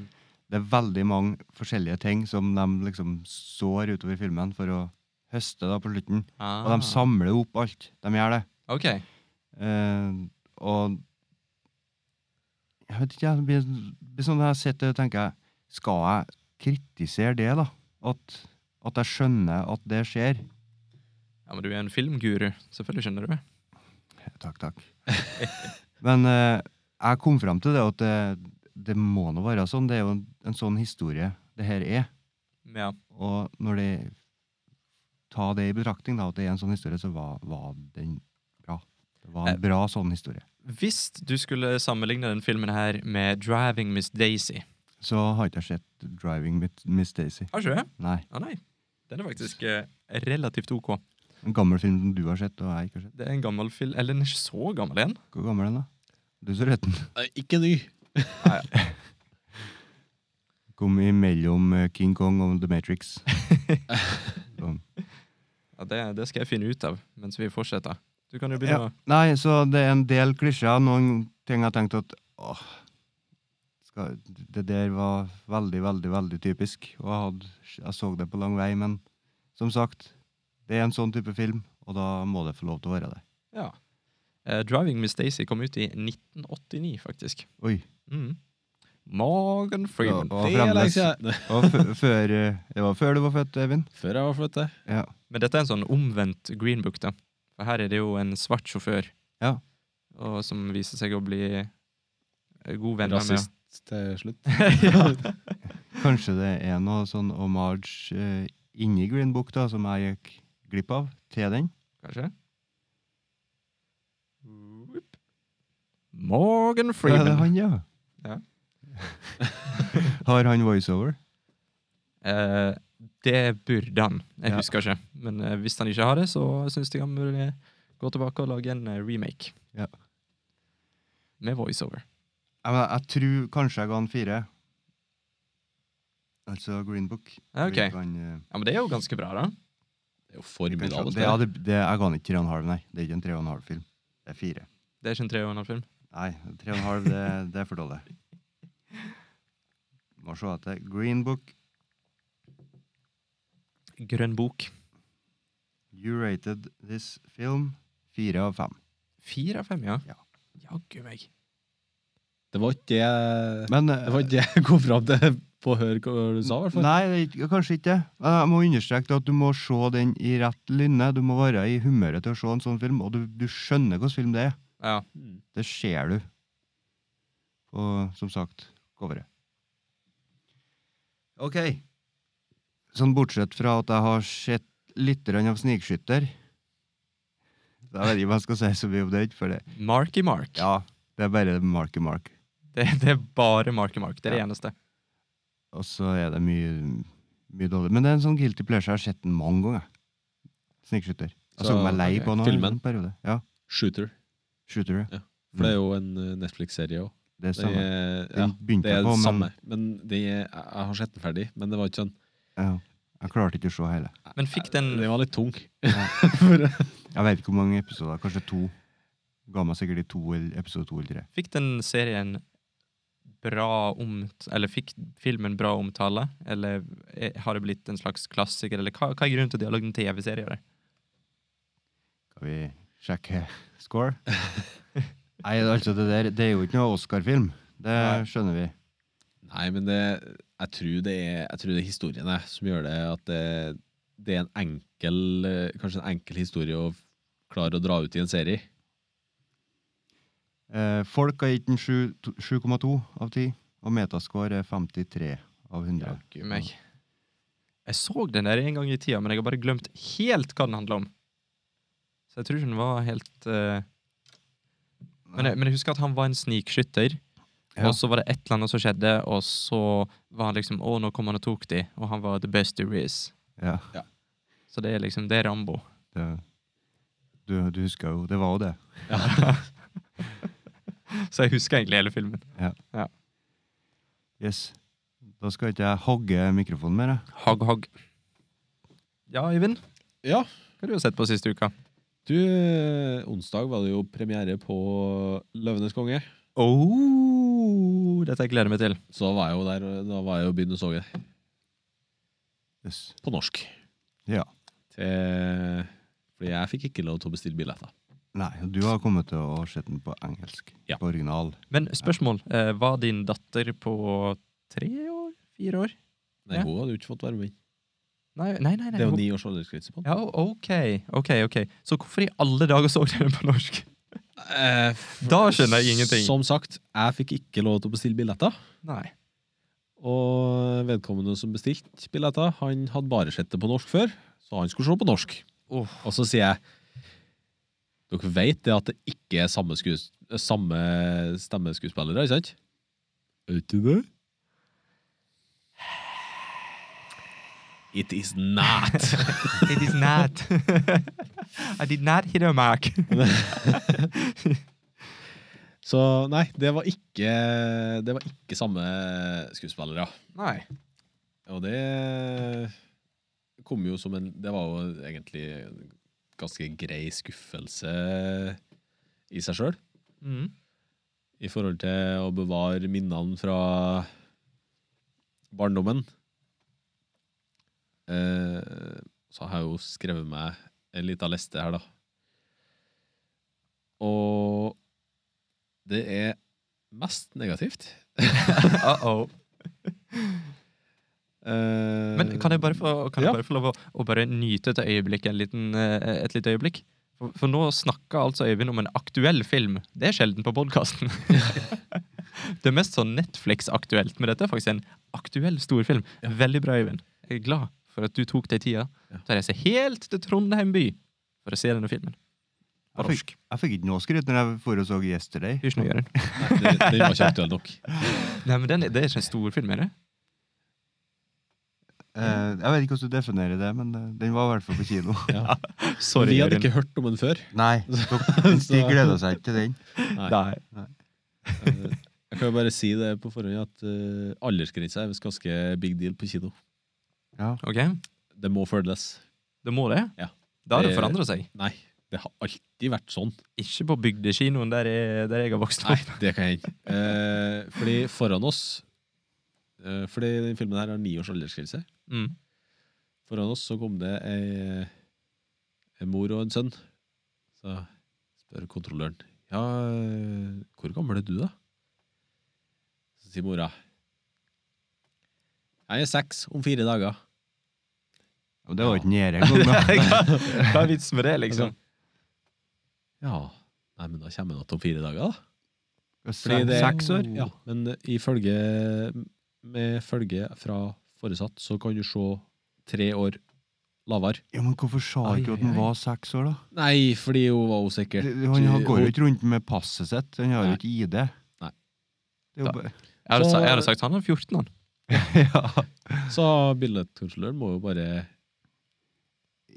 A: Det er veldig mange forskjellige ting som de liksom sår utover filmen for å høste da på slutten. Og
B: Ah,
A: de samler opp alt. De gjør det.
B: OK.
A: Eh, og Jeg vet ikke, jeg. det blir- det blir sånn når jeg sitter og tenker Skal jeg kritisere det, da? At, at jeg skjønner at det skjer?
B: Ja, men du er en filmguru. Selvfølgelig skjønner du det.
A: Takk, takk. (laughs) Men eh, jeg kom fram til det at det, det må nå være sånn. Det er jo en, en sånn historie det her er.
B: Ja.
A: Og når de tar det i betraktning, da, at det er en sånn historie, så var, var den bra. Det var en bra sånn historie.
B: Hvis du skulle sammenligne den filmen her med 'Driving Miss Daisy'
A: Så har ikke jeg sett 'Driving Miss- Miss Daisy'.
B: Har ikke du det?
A: Nei.
B: Å Ah, nei. Den er faktisk eh, relativt OK.
A: En gammel film som du har sett, og jeg ikke har sett.
B: Det er en gammel film Eller den er ikke så gammel igjen.
A: Hvor gammel er den, da? Du så retten.
C: Nei, Ikke ny.
A: Kom imellom eh, King Kong og The Matrix. Sånn.
B: Ja, det, det skal jeg finne ut av mens vi fortsetter. Du kan jo begynne.
A: Nei, så det er en del klisjer. Noen ting jeg tenkte at åh, skal, Det der var veldig, veldig, veldig typisk. Og jeg, hadde, jeg så det på lang vei, men som sagt, det er en sånn type film, og da må det få lov til å være det.
B: Ja. Eh, 'Driving Miss Daisy' kom ut i 1989, faktisk.
A: Oi.
B: Mm. Morgan Freeman.
A: Ja, Og
C: Det er lenge
A: fremdeles.
C: siden. (laughs)
A: Og f før, eh, det var før du var født, Eivind?
C: Før jeg var flyttet.
A: Ja.
B: Men dette er en sånn omvendt Green Book, da. For her er det jo en svart sjåfør
A: Ja.
B: Og som viser seg å bli eh, god venner
C: Rasist til slutt.
B: med ja.
A: Kanskje det er noe sånn homage eh, inni Green Book da, som jeg gikk glipp av, til den.
B: Kanskje? Whoop. Morgan
A: (laughs) Ja,
B: Freeman.
A: det er han, ja.
B: Ja.
A: (laughs) Har han voiceover?
B: Eh, det burde han. Jeg
A: Ja.
B: husker ikke. Men eh, hvis han ikke har det, så syns jeg han burde gå tilbake og lage en eh, remake.
A: Ja.
B: Med voiceover.
A: Jeg, men, jeg tror kanskje jeg ga han fire. Altså Green Book.
B: Ja, ok.
A: Jeg vet ikke han, eh,
B: Ja, Men det er jo ganske bra, da.
C: Det er jo
A: pensjon-
C: formidabelt.
A: det, ja, det, det, jeg ga han ikke tre og en halv, nei. Det er ikke en tre og en halv film. Det er fire.
B: Det er ikke en tre og en halv film.
A: Nei, tre og en halv, det, det er for dårlig. Må se etter. Green Book,
B: Grønn bok.
A: you rated this film fire av fem.
B: Fire av fem, ja.
A: Ja.
B: Jaggu meg.
C: Det var ikke det
A: Men
C: Det var ikke det jeg (laughs) kom fram til på å høre hva du sa, i hvert fall.
A: Nei, det er ikke- kanskje ikke. det. Jeg må understreke at du må se den i rett lynne. Du må være i humøret til å se en sånn film, og du, du skjønner hvilken film det er.
B: Ja.
C: Mm.
A: Det ser du. Og som sagt, coveret. Ok. Sånn bortsett fra at jeg har sett litt grann av Snikskytter. Så Jeg vet ikke hva jeg skal si så mye om det, for det
B: Marky Mark.
A: Ja, det er bare Marky Mark.
B: Det, det er bare Marky Mark. Det er
A: Ja.
B: det eneste.
A: Og så er det mye, mye dårlig. Men det er en sånn guilty pleasure. Jeg har sett den mange ganger. Snikskytter. Jeg
C: Så,
A: så meg lei
B: ok,
A: på den
C: filmen.
A: en periode. Ja,
C: Shooter.
A: Shooter, ja.
C: For det er jo en eh, Netflix-serie òg.
A: Det er
C: Den,
A: samme.
C: er- ja,
A: Den begynte
C: det er
A: jeg på,
C: den
A: men
C: samme. Men det er, jeg- jeg har sett den ferdig, men det var ikke sånn
A: ja, jeg klarte ikke å se hele.
B: Men fikk den
A: Mm.
C: Den var litt tung.
A: Jeg vet ikke hvor mange episoder. Kanskje to. Ga meg sikkert i to, eller- episode to eller tre.
B: Fikk den serien bra omt... Eller fikk filmen bra omtale? Eller er- har det blitt en slags klassiker? Eller hva, hva er grunnen til at de har lagd en TV-serie av det?
A: Skal vi sjekke score? Nei, altså, det der det er jo ikke noe Oscar-film. Det
B: Nei.
A: skjønner vi.
C: Nei, men det, jeg, tror det er, jeg tror det er historien jeg, som gjør det at det, det er en enkel eh, Kanskje en enkel historie å klare å dra ut i en serie.
A: Eh, folk har gitt den sju- to- 7,2 av 10, og metascore er 53 av 100.
B: Gud meg. Jeg så den der en gang i tida, men jeg har bare glemt helt hva den handla om. Så jeg tror ikke den var helt eh, men, jeg, men jeg husker at han var en snikskytter
A: Ja.
B: Og så var det et eller annet som skjedde, og så var han liksom Å, nå kom han og tok de, og han var the best there is.
A: Ja,
B: Så det er liksom Det er Rambo. (laughs)
A: det, du, du husker jo Det var jo det.
B: Så jeg husker egentlig hele filmen.
A: Yes. Da skal ikke jeg hogge mikrofonen mer, jeg.
B: Hagg, hagg. Ja, Øyvind,
C: Ja,
B: hva har du sett på siste uka?
C: du, eh, onsdag var det jo premiere på Løvenes konge.
B: Oh, dette jeg gleder meg til.
C: Så da var jeg jo der, og da var jeg jo begynt å så det
A: Yes.
C: på norsk.
A: Ja.
C: Til, fordi jeg fikk ikke lov til å bestille billetter.
A: Nei, du har kommet til å se den på engelsk.
C: Ja.
A: På original.
B: Men spørsmål. Eh, var din datter på tre år? Fire år?
C: Nei,
B: Ja.
C: hun hadde jo ikke fått være med.
B: Nei, nei, nei. nei.
C: Det er jo
B: hun-
C: ni års aldersgrense på den.
B: Ja, ok, ok, ok. Så hvorfor i alle dager så dere den på norsk?
C: Eh, f-
B: Da skjønner jeg ingenting.
C: Som sagt, jeg fikk ikke lov til å bestille billetter.
B: Nei.
C: Og vedkommende som bestilte billetter, han hadde bare sett det på norsk før, så han skulle se på norsk. Og så sier jeg Dere vet det at det ikke er samme, skues, samme stemmeskuespillere, ikke sant? Er ikke det? It is not. (laughs)
B: It is not. (laughs) I did not hit a mark.
C: så nei, det var ikke Det var ikke samme skuespillere.
B: Nei.
C: Og det kom jo som en Det var jo egentlig en ganske grei skuffelse i seg sjøl.
B: Mm.
C: I forhold til å bevare minnene fra barndommen. Eh, så har jeg jo skrevet meg en lita liste her, da. Og det er mest negativt.
B: Uh-oh.
C: Eh,
B: Men kan jeg bare få, kan
C: Ja.
B: jeg bare få lov å, å bare nyte et øyeblikk, en liten, eh, et lite øyeblikk? For, for nå snakker altså Øyvind om en aktuell film. Det er sjelden på podkasten. (laughs) det er mest sånn Netflix-aktuelt, men dette er faktisk en aktuell storfilm. Veldig bra, Øyvind. Jeg er glad for at du tok deg tida
C: Ja.
B: til å reise helt til Trondheim by for å se denne filmen. På
A: Jeg
B: norsk.
A: fikk, jeg fikk ikke noe skryt når jeg for og så Yesterday.
B: Hysj nå, Jørund.
C: Nei, den, den var ikke aktuell nok.
B: Nei, men den, er- det er ikke en storfilm, er det?
A: Eh, jeg vet ikke hvordan du definerer det, men eh, den var i hvert fall på kino.
C: Ja.
B: Sorry,
C: Vi hadde
B: Jørund.
C: ikke hørt om den før.
A: (laughs) Nei, (laughs) de gleda seg ikke til den.
B: Nei.
C: Eh, Jeg kan jo bare si det på forhånd at uh, aldersgrensa er visst ganske big deal på kino.
B: Ok,
C: Det må følges.
B: det må det.
C: Ja.
B: Da har det
C: Det-
B: forandra seg.
C: Nei, det har alltid vært sånn.
B: Ikke på bygdekinoen der jeg, der jeg har vokst
C: Nei,
B: opp.
C: (laughs) det kan hende. Eh, fordi foran oss eh, Fordi den filmen her har ni års aldersgrense.
B: (laughs) Mm.
C: Foran oss så kom det ei, ei mor og en sønn. Så spør kontrolløren Ja, eh, hvor gammel er du, da? Så sier mora Jeg er seks om fire dager.
A: Og det var ikke nede
C: (laughs)
A: engang. da.
B: (laughs) Hva er vitsen med det, liksom?
C: Ja, nei, men da kommer han om fire dager, da.
A: Se-
C: det-
A: Seks år?
C: Ja, men ifølge med følge fra foresatt, så kan du se tre år lavere.
A: Ja, men hvorfor sa
B: Ai,
A: ikke at
B: ai,
A: den
B: ai.
A: var seks år, da?
C: Nei, fordi hun var usikker.
A: Det- Han har- går jo ikke rundt med passet sitt. Han har jo ikke ID.
C: Nei.
A: Det er jo bare... (laughs)
B: Jeg hadde,
C: Så-
B: sa- jeg hadde sagt han er 14, han.
A: ja.
C: Så billedkontrolløren må jo bare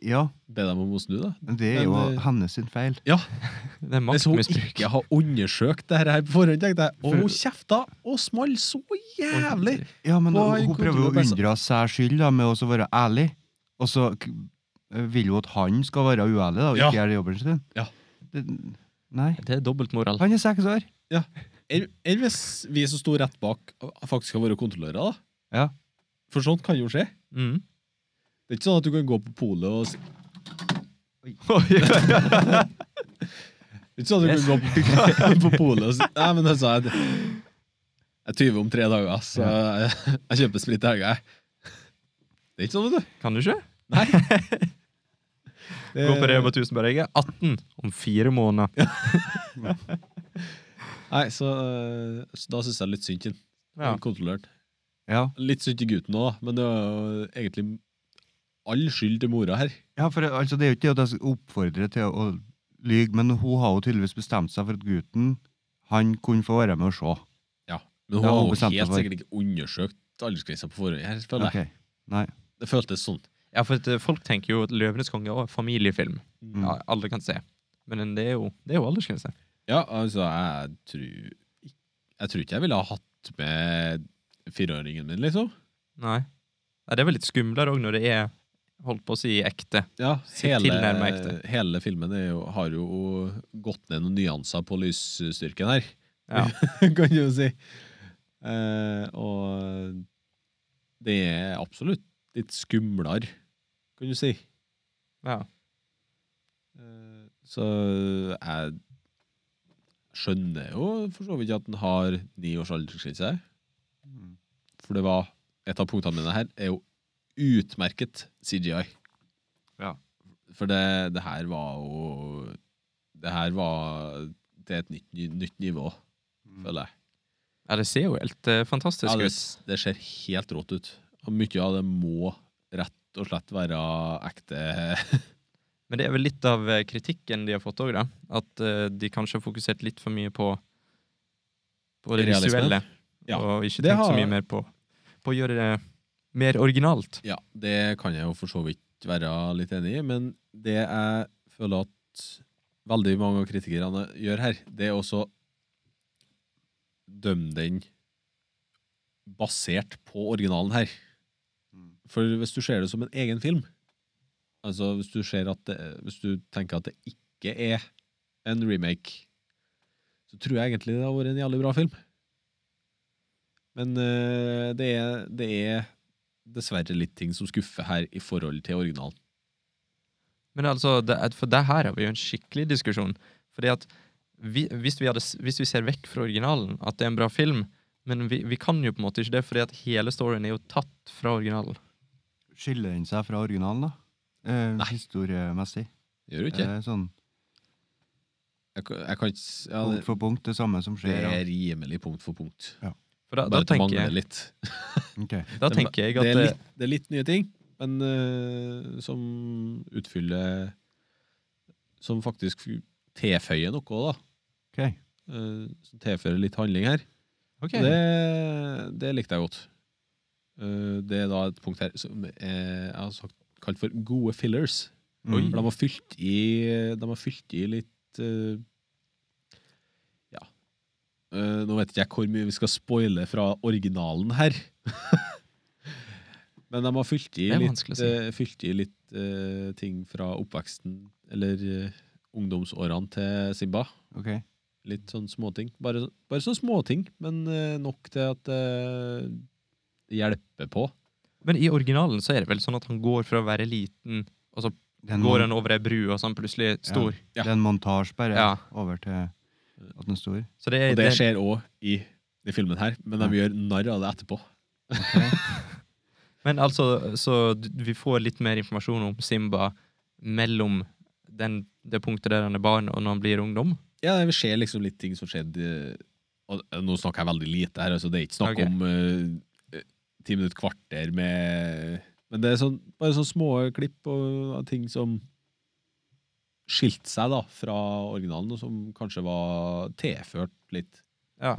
A: ja,
C: be dem om å snu, da.
A: men det er jo
C: Men, eh,
A: hennes sin feil.
B: Det er
C: Hvis hun
B: maktmisbruk.
C: ikke har undersøkt det her på forhånd, tenkte jeg. Og
A: For-
C: hun kjefta og small så jævlig!
A: Ja, men
C: Og
A: hun,
C: han
A: hun
C: kommer til
A: prøver å
C: å passe-
A: unndra seg skyld da, med også å være ærlig. Og så k- eh, vil hun at han skal være uærlig da, og
C: Ja.
A: ikke gjøre jobben sin.
C: Ja.
A: Det, nei.
B: Det er dobbeltmoral.
A: Han er seks år.
C: Eller hvis vi som sto rett bak, faktisk har vært kontrollører, da.
A: Ja.
C: For sånt kan jo skje.
B: Mm. (laughs)
C: Det er ikke sånn at du kan gå på polet og si- Det er ikke sånn at du kan gå på, (laughs) på polet og si Nei, men da sa jeg at Jeg tyver om tre dager, så jeg, jeg kjøper sprit i helga, jeg. Det er ikke sånn, vet du.
B: Kan du ikke?
C: (laughs) Nei.
B: Gå på Rema 1000 bare. Jeg er 18 om fire måneder.
C: Nei, så, eh, så da syns jeg litt synd til den,
B: Ja.
C: kontrolløren.
A: Ja.
C: Litt synd til gutten òg, men det var jo egentlig all skyld til mora her.
A: ja, for det- altså, det er jo ikke det at jeg oppfordrer til å lyge, men hun har jo tydeligvis bestemt seg for at gutten, han kunne få være med og se.
C: Ja. Men hun
A: Ja,
C: har
A: hun
C: jo
A: bestemte
C: helt
A: for-
C: sikkert ikke undersøkt aldersgrensa på forhånd. Her føler jeg.
A: Ok. Nei.
C: Det føltes sånn.
B: Ja, for at eh, folk tenker jo at 'Løvenes konge' er familiefilm.
A: Mm.
B: Ja, alle kan se. Men eh, det er jo, det er jo aldersgrense.
C: Ja, altså, jeg tror Jeg tror ikke jeg ville ha hatt med fireåringen min, liksom.
B: Nei. Nei, det er vel litt skumlere òg når det er holdt på å si ekte.
C: Ja,
B: Si- tilnærmet
C: hele,
B: ekte.
C: hele filmen er jo, har jo gått ned noen nyanser på lysstyrken her, (laughs)
B: Ja.
C: kan du jo si. Eh, og det er absolutt litt skumlere, kan du si.
B: (laughs) ja.
C: Eh, Så jeg skjønner jo for så vidt at den har ni års aldersgrense. her,
A: Mm.
C: For det var et av punktene mine her er jo utmerket CGI.
A: Ja.
C: For det, det her var jo Det her var til et nytt, ny- nytt nivå,
A: Mm.
C: føler jeg.
B: ja, det ser jo helt eh, fantastisk
C: Ja, det,
B: ut.
C: det ser helt rått ut. Og mye av det må rett og slett være ekte
B: Men det er vel litt av eh, kritikken de har fått òg, da. At eh, de kanskje har fokusert litt for mye på På det
C: Realisme.
B: visuelle.
C: Ja,
B: Og ikke
C: det
B: tenkt
C: har-
B: så mye mer på, på å gjøre det mer originalt.
C: Ja, det kan jeg jo for så vidt være litt enig i, men det jeg føler at veldig mange av kritikerne gjør her, det er også dømme den basert på originalen her.
A: Mm.
C: For hvis du ser det som en egen film, altså hvis du, ser at det, hvis du tenker at det ikke er en remake, så tror jeg egentlig det har vært en jævlig bra film. Men eh, det, er, det er dessverre litt ting som skuffer her i forhold til originalen.
B: Men altså, det, er- for det her har vi jo en skikkelig diskusjon. Fordi at vi, hvis, vi hadde, s- hvis vi ser vekk fra originalen, at det er en bra film, men vi, vi kan jo på en måte ikke det, fordi at hele storyen er jo tatt fra originalen.
A: Skiller den seg fra originalen, da? Eh,
C: Nei.
A: historiemessig.
C: Gjør du
A: Det
C: ikke?
A: er sånn
C: Jeg, kan- jeg kan ikke s- ja,
A: punkt
C: det,
A: for punkt, det samme som
C: det
A: skjer.
C: er
A: Ja.
C: rimelig punkt for punkt.
B: For da, da,
C: Bare at det
B: tenker,
C: mangler
B: jeg,
C: litt.
A: Ok.
B: da
C: Det-
B: tenker jeg at
C: det, er
B: eh,
C: litt, det er litt nye ting, men eh, som utfyller Som faktisk tilføyer noe, da.
A: Ok.
C: Eh, som tilfører litt handling her.
B: ok,
C: Det, det likte jeg godt. Eh, det er da et punkt her som eh, jeg har sagt, kalt for gode fillers.
B: Oi.
A: Mm.
C: For de har fylt i, de har fylt i litt eh, Ja. Eh, nå vet ikke jeg hvor mye vi skal spoile fra originalen her. (laughs) Men de har fylt i
B: Det er
C: litt,
B: vanskelig å si.
C: eh, fylt i litt eh, ting fra oppveksten, eller eh, ungdomsårene til Simba.
A: Ok.
C: Litt sånn småting. Bare, bare sånn småting, men eh, nok til at eh, det hjelper på.
B: Men i originalen så er det vel sånn at han går fra å være liten, og så
A: Det er en,
B: går
A: mon
B: han over ei bru, og så er han plutselig stor.
A: det er en montasje bare
B: Ja.
A: over til at den står.
B: Så det er,
C: Og det
B: det-
C: skjer òg i, i filmen her, men de gjør narr av det etterpå.
B: Men altså, så d- vi får litt mer informasjon om Simba mellom den, det punktet der han er barn, og når han blir ungdom.
C: Ja, vi ser liksom litt ting som skjedde eh, og eh, Nå snakker jeg veldig lite her, altså det er ikke snakk
B: Ok.
C: om eh, eh, ti minutter kvarter med Men det er sånn, bare sånne små klipp og av ting som skilte seg da fra originalen, og som kanskje var tilført litt.
B: Ja.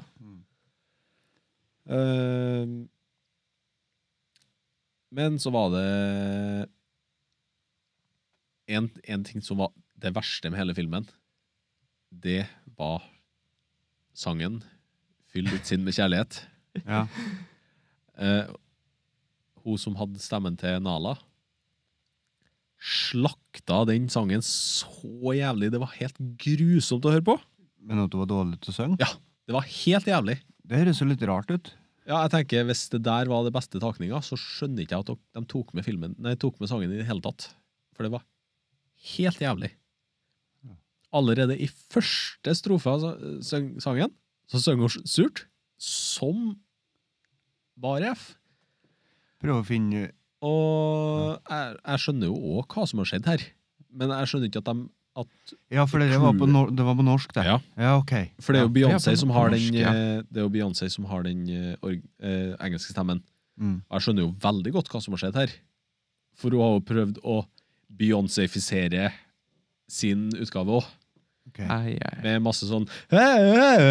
C: Eh, men så var det en, en ting som var det verste med hele filmen. Det var sangen 'Fyll ditt sinn med kjærlighet'.
A: Ja.
C: Eh, hun som hadde stemmen til Nala, slakta den sangen så jævlig. Det var helt grusomt å høre på.
A: Men at du var dårlig til å synge?
C: Ja, Det var helt jævlig.
A: Det høres jo litt rart ut.
C: Ja, jeg tenker Hvis det der var det beste takninga, så skjønner ikke jeg at de tok med, filmen, nei, tok med sangen i det hele tatt. For det var helt jævlig. Allerede i første strofe av sa- sang- sangen så synger hun surt, som bare F.
A: Prøv å finne
C: Og jeg, jeg skjønner jo òg hva som har skjedd her, men jeg skjønner ikke at de at,
A: Ja, for det var på, nor det var på norsk, det.
C: Ja.
A: Ja, ok.
C: For det er jo
B: Ja,
C: Beyoncé
B: på-
C: som
B: på
C: har
B: norsk,
C: den
B: ja.
C: eh, Det er jo Beyoncé som har den eh, org, eh, engelske stemmen.
A: Mm.
C: Og jeg skjønner jo veldig godt hva som har skjedd her. For hun har jo prøvd å Beyoncé-fisere sin utgave òg.
A: Ok.
B: Ai, ai.
C: Med masse sånn greier.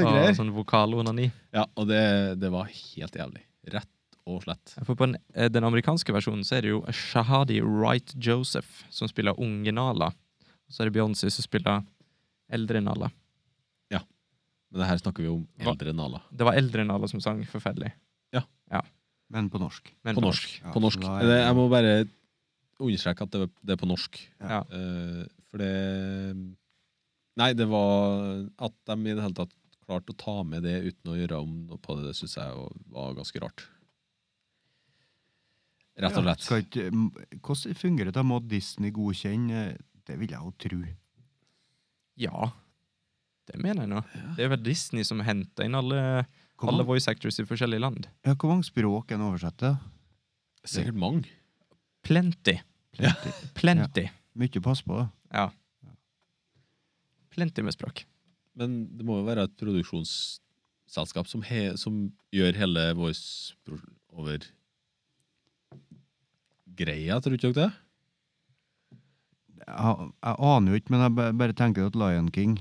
B: Og
A: altså.
B: sånn vokalonani.
C: Ja, og det, det var helt jævlig. Rett og slett.
B: For på den, eh, den amerikanske versjonen så er det jo Shahadi Wright Joseph som spiller unge Nala. Og så er det Beyoncé som spiller eldre Nala.
C: Men det her snakker vi om
B: Hva?
C: eldre enn Nala.
B: Det var eldre Nala som sang forferdelig.
A: Men på norsk.
B: Men
C: På norsk.
A: Ja,
C: På norsk.
A: så da er
C: Det,
A: det-
C: jeg må bare understreke at det, det er på norsk.
B: Ja.
C: Eh, for det Nei, det var At de i det hele tatt klarte å ta med det uten å gjøre om noe på det, det syns jeg jo var ganske rart. Rett og
A: Ja,
C: slett.
A: skal ikke- m- Hvordan fungerer det? da? Må Disney godkjenne? Det vil jeg jo tro.
B: Ja. Det mener jeg nå. Det er vel Disney som henter inn alle,
A: Hvor
B: alle
A: mange,
B: voice actors i forskjellige land.
A: ja, hvor mange språk er det oversette?
C: Sikkert mange.
B: Plenty.
A: Ja.
B: (laughs) Plenty.
A: Mye å passe på, da.
B: Ja. Plenty med språk.
C: Men det må jo være et produksjonsselskap som, he, som gjør hele voice pro- over greia, tror du ikke dere det?
A: Jeg, jeg aner jo ikke, men jeg ba- bare tenker at Lion King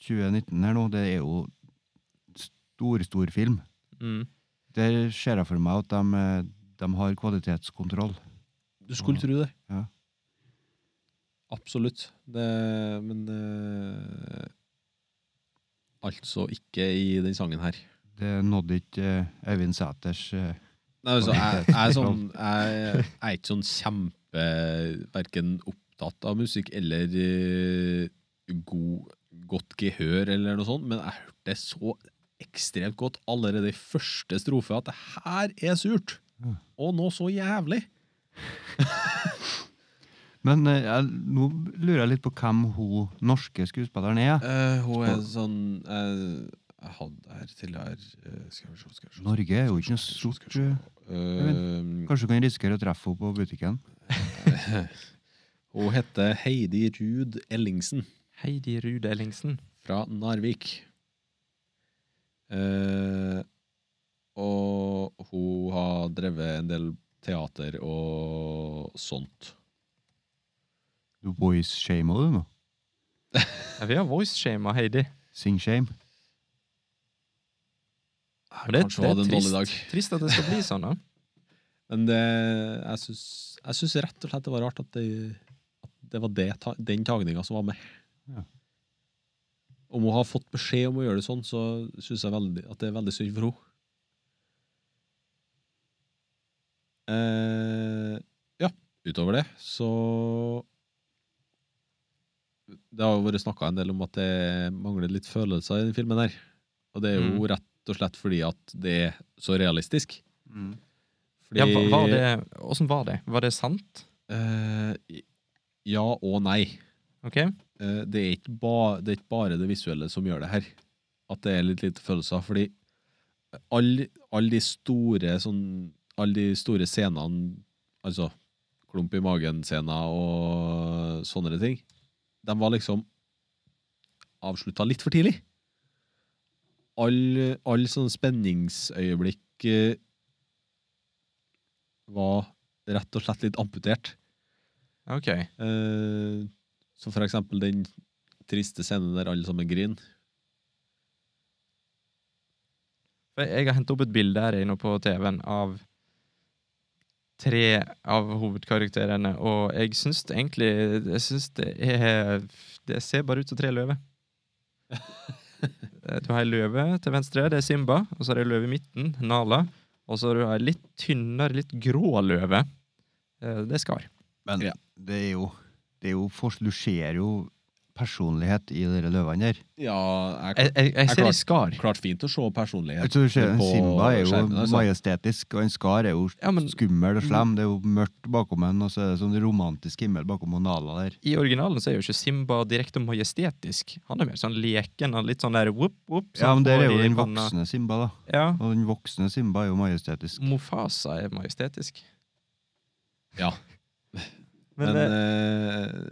A: 2019 her nå, det er jo stor, stor film.
B: Mm.
A: Der ser jeg for meg at de, eh, de har kvalitetskontroll.
C: Du skulle tro det.
A: Ja.
C: Absolutt. Det, men eh, Altså ikke i den sangen her.
A: Det nådde ikke eh, Øyvind Sæters eh,
C: Nei, altså, jeg, jeg,
A: (laughs)
C: er sånn, jeg, jeg er ikke sånn kjempe Verken opptatt av musikk eller eh, god, godt gehør eller noe sånt, men jeg hørte det så ekstremt godt allerede i første strofe at det her er surt.
A: Ja.
C: Og nå så jævlig.
A: Men eh, jeg, nå lurer jeg litt på hvem hun norske skuespilleren er.
C: Eh, hun er
A: Spå-
C: sånn eh, Jeg hadde her til her eh, Skal vi se, skal vi se
A: Norge er jo ikke noe
C: skal vi se,
A: stort,
C: skal vi se. Eh,
A: Kanskje du kan risikere å treffe henne på butikken?
C: Hun heter Heidi Ruud Ellingsen
B: Heidi Ruud Ellingsen.
C: fra Narvik. Eh, og hun har drevet en del teater og sånt.
A: Du voice-shamer du nå.
B: Ja, vi har voice-shama Heidi.
A: Sing-shame.
B: Men det,
C: Kanskje
B: det
C: hun
B: er
C: hadde en dårlig dag.
B: trist, trist at det skal bli sånn. da.
C: Men det, jeg syns- jeg syns rett og slett det var rart at det, at det var det, ta- den tagninga som var med.
A: Ja.
C: Om hun har fått beskjed om å gjøre det sånn, så syns jeg veldig, at det er veldig synd for henne. Eh, ja, utover det, så Det har jo vært snakka en del om at det mangler litt følelser i den filmen her. Og det er jo
B: Mm.
C: rett og slett fordi at det er så realistisk. Mm.
B: Ja,
C: (laughs) Fordi-
B: hva- var det, hvordan var det? Var det sant?
C: Eh, ja og nei.
B: Ok?
C: Eh, det, er ikke ba, det er ikke bare det visuelle som gjør det her. At det er litt lite følelser. Fordi alle all de store sånn, Alle de store scenene, altså klump i magen-scener og sånne ting, de var liksom avslutta litt for tidlig. Alle all sånne spenningsøyeblikk eh, var rett og slett litt amputert.
B: Ok.
C: Eh, Som for eksempel den triste scenen der alle sammen griner.
B: For Jeg har hentet opp et bilde her inne på TV-en av tre av hovedkarakterene, og jeg syns det egentlig jeg synes det, er, det ser bare ut som tre (laughs) løver. Eh, Du har ei løve til venstre, det er Simba. Og så har du ei løve i midten, Nala. Og så har du ei litt tynnere, litt grå løve. Eh, Det er Skar.
A: Men
C: Ja.
A: det er jo, det er jo fors- Du ser jo personlighet i dere løvene der.
C: Ja, jeg,
A: Eh,
B: Jeg, jeg, jeg ser i Skar.
C: klart, klart fint å se personlighet.
A: Altså, du ser,
C: på
A: Simba er jo
C: skjermen, altså.
A: majestetisk, og en skar er jo
B: Ja, men- Mm.
A: skummel og slem. Det er jo mørkt bakom en, og så er det sånn romantisk himmel bakom og Nala der.
B: I originalen så er jo ikke Simba direkte majestetisk. Han er mer sånn leken og litt sånn der whoop, whoop. sånn
A: Ja, men der er jo
B: i
A: den
B: panna.
A: voksne Simba, da.
B: Ja,
A: Og den voksne Simba er jo majestetisk.
B: Mofasa er majestetisk.
C: Ja.
B: Men,
C: Men,
B: eh,
C: eh,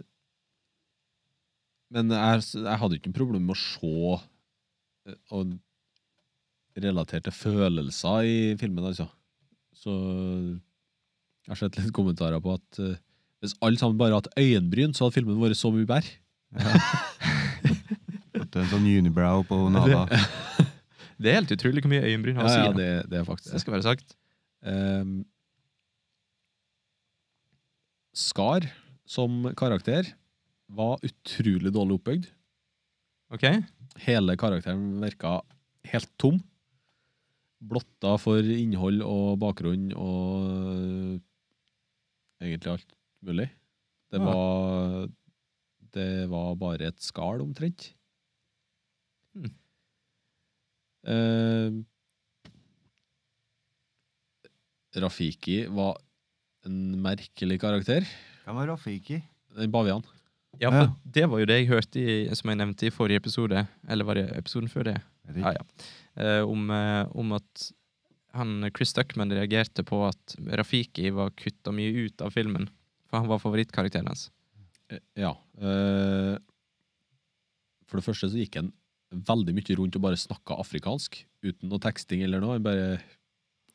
C: men jeg, jeg hadde ikke noe problem med å se eh, og relaterte følelser i filmen, altså. Så jeg har sett litt kommentarer på at eh, hvis alle sammen bare hadde hatt øyenbryn, så hadde filmen vært så mye bedre.
B: Mm.
A: ofte en sånn unibrow på
B: (laughs)
A: Nava.
B: eh, Det er helt utrolig hvor mye øyenbryn har å
C: Ja,
B: si.
C: ja,
B: da.
C: det, det er faktisk
B: det skal være sagt.
C: Ehm, Skar som karakter var utrolig dårlig oppbygd.
B: Ok?
C: Hele karakteren virka helt tom. Blotta for innhold og bakgrunn og øh, egentlig alt mulig. Det
B: Ja.
C: var, det var bare et skall, omtrent.
B: Hmm.
C: Eh, Rafiki var en merkelig karakter.
A: Hvem var Rafiki?
C: Den bavianen.
B: Ja, for
A: Ja.
B: Det var jo det jeg hørte i, som jeg nevnte i forrige episode, eller var det episoden før det?
A: Vet ikke.
B: Ja, ja. Eh, om, eh, om at han, Chris Duckman reagerte på at Rafiki var kutta mye ut av filmen. For han var favorittkarakteren hans.
C: Eh, Ja. eh, for det første så gikk han veldig mye rundt og bare snakka afrikansk, uten noe teksting eller noe. Han bare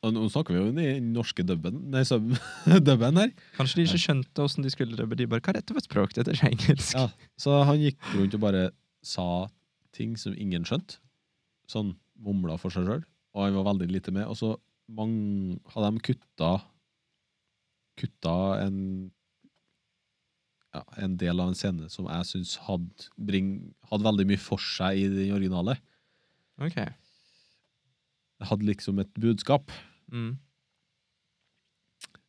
C: Og Nå snakker vi jo i den norske dubben, nei, sub- (laughs) dubben her.
B: Kanskje de ikke skjønte åssen de skulle dubbe. De bare Hva er dette for et språk? Dette er ikke engelsk.
C: Ja. Så han gikk rundt og bare sa ting som ingen skjønte. Sånn mumla for seg sjøl, og han var veldig lite med. Og så mang- hadde de kutta Kutta en ja, en del av en scene som jeg syns hadde, bring- hadde veldig mye for seg i den originale.
B: Ok.
C: Det hadde liksom et budskap.
B: Mm. (laughs)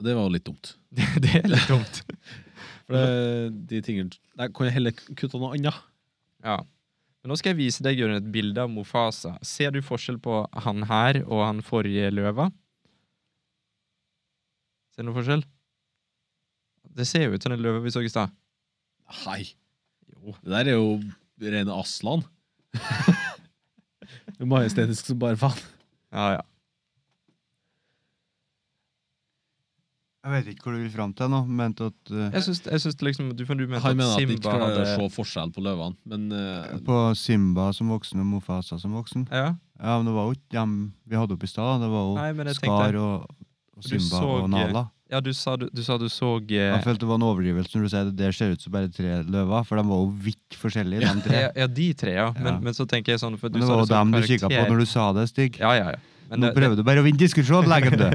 C: og Det var jo litt dumt.
B: Det, det er litt dumt.
C: For det, de tingene Jeg kunne jeg heller kutta noe annet.
B: Ja. Men nå skal jeg vise deg Jørgen, et bilde av Mofasa. Ser du forskjell på han her og han forrige løva? Ser du noen forskjell? Det ser jo ut som den løva vi så i stad.
C: Hei! Det der er jo rene Aslan. Det er Majestetisk som bare faen.
B: Ja, ja.
A: Jeg vet ikke hvor du vil fram til nå, men til at eh,
B: Jeg syns, jeg syns det liksom Du, for du mente
C: Han
B: at
C: mener at de ikke
B: Simba
C: klarer
B: hadde
C: å se forskjell på løvene, men eh,
A: på Simba som voksen og Mofasa som voksen.
B: Ja,
A: Ja, men det var jo ikke dem vi hadde oppe i stad. da. Det var jo
B: Nei, men jeg
A: Skar
B: tenkte-
A: og, og
B: Du
A: Simba
B: så-
A: og Nala.
B: ja du, sa, du, du sa du så
A: Jeg
B: eh,
A: følte det var en overdrivelse når du sier det der ser ut som bare tre løver, for de var jo vidt forskjellige, de tre.
B: ja, ja, de tre, ja. Men,
A: Ja.
B: men så tenker jeg sånn for du
A: Men det
B: sa
A: var jo
B: så
A: dem du kikka på
B: karakter.
A: når du sa det, Stig.
B: Ja, ja, ja. Men
A: Nå
B: det- det-
A: prøver du bare å vinne
B: (laughs)
A: diskusjonen, leggen du!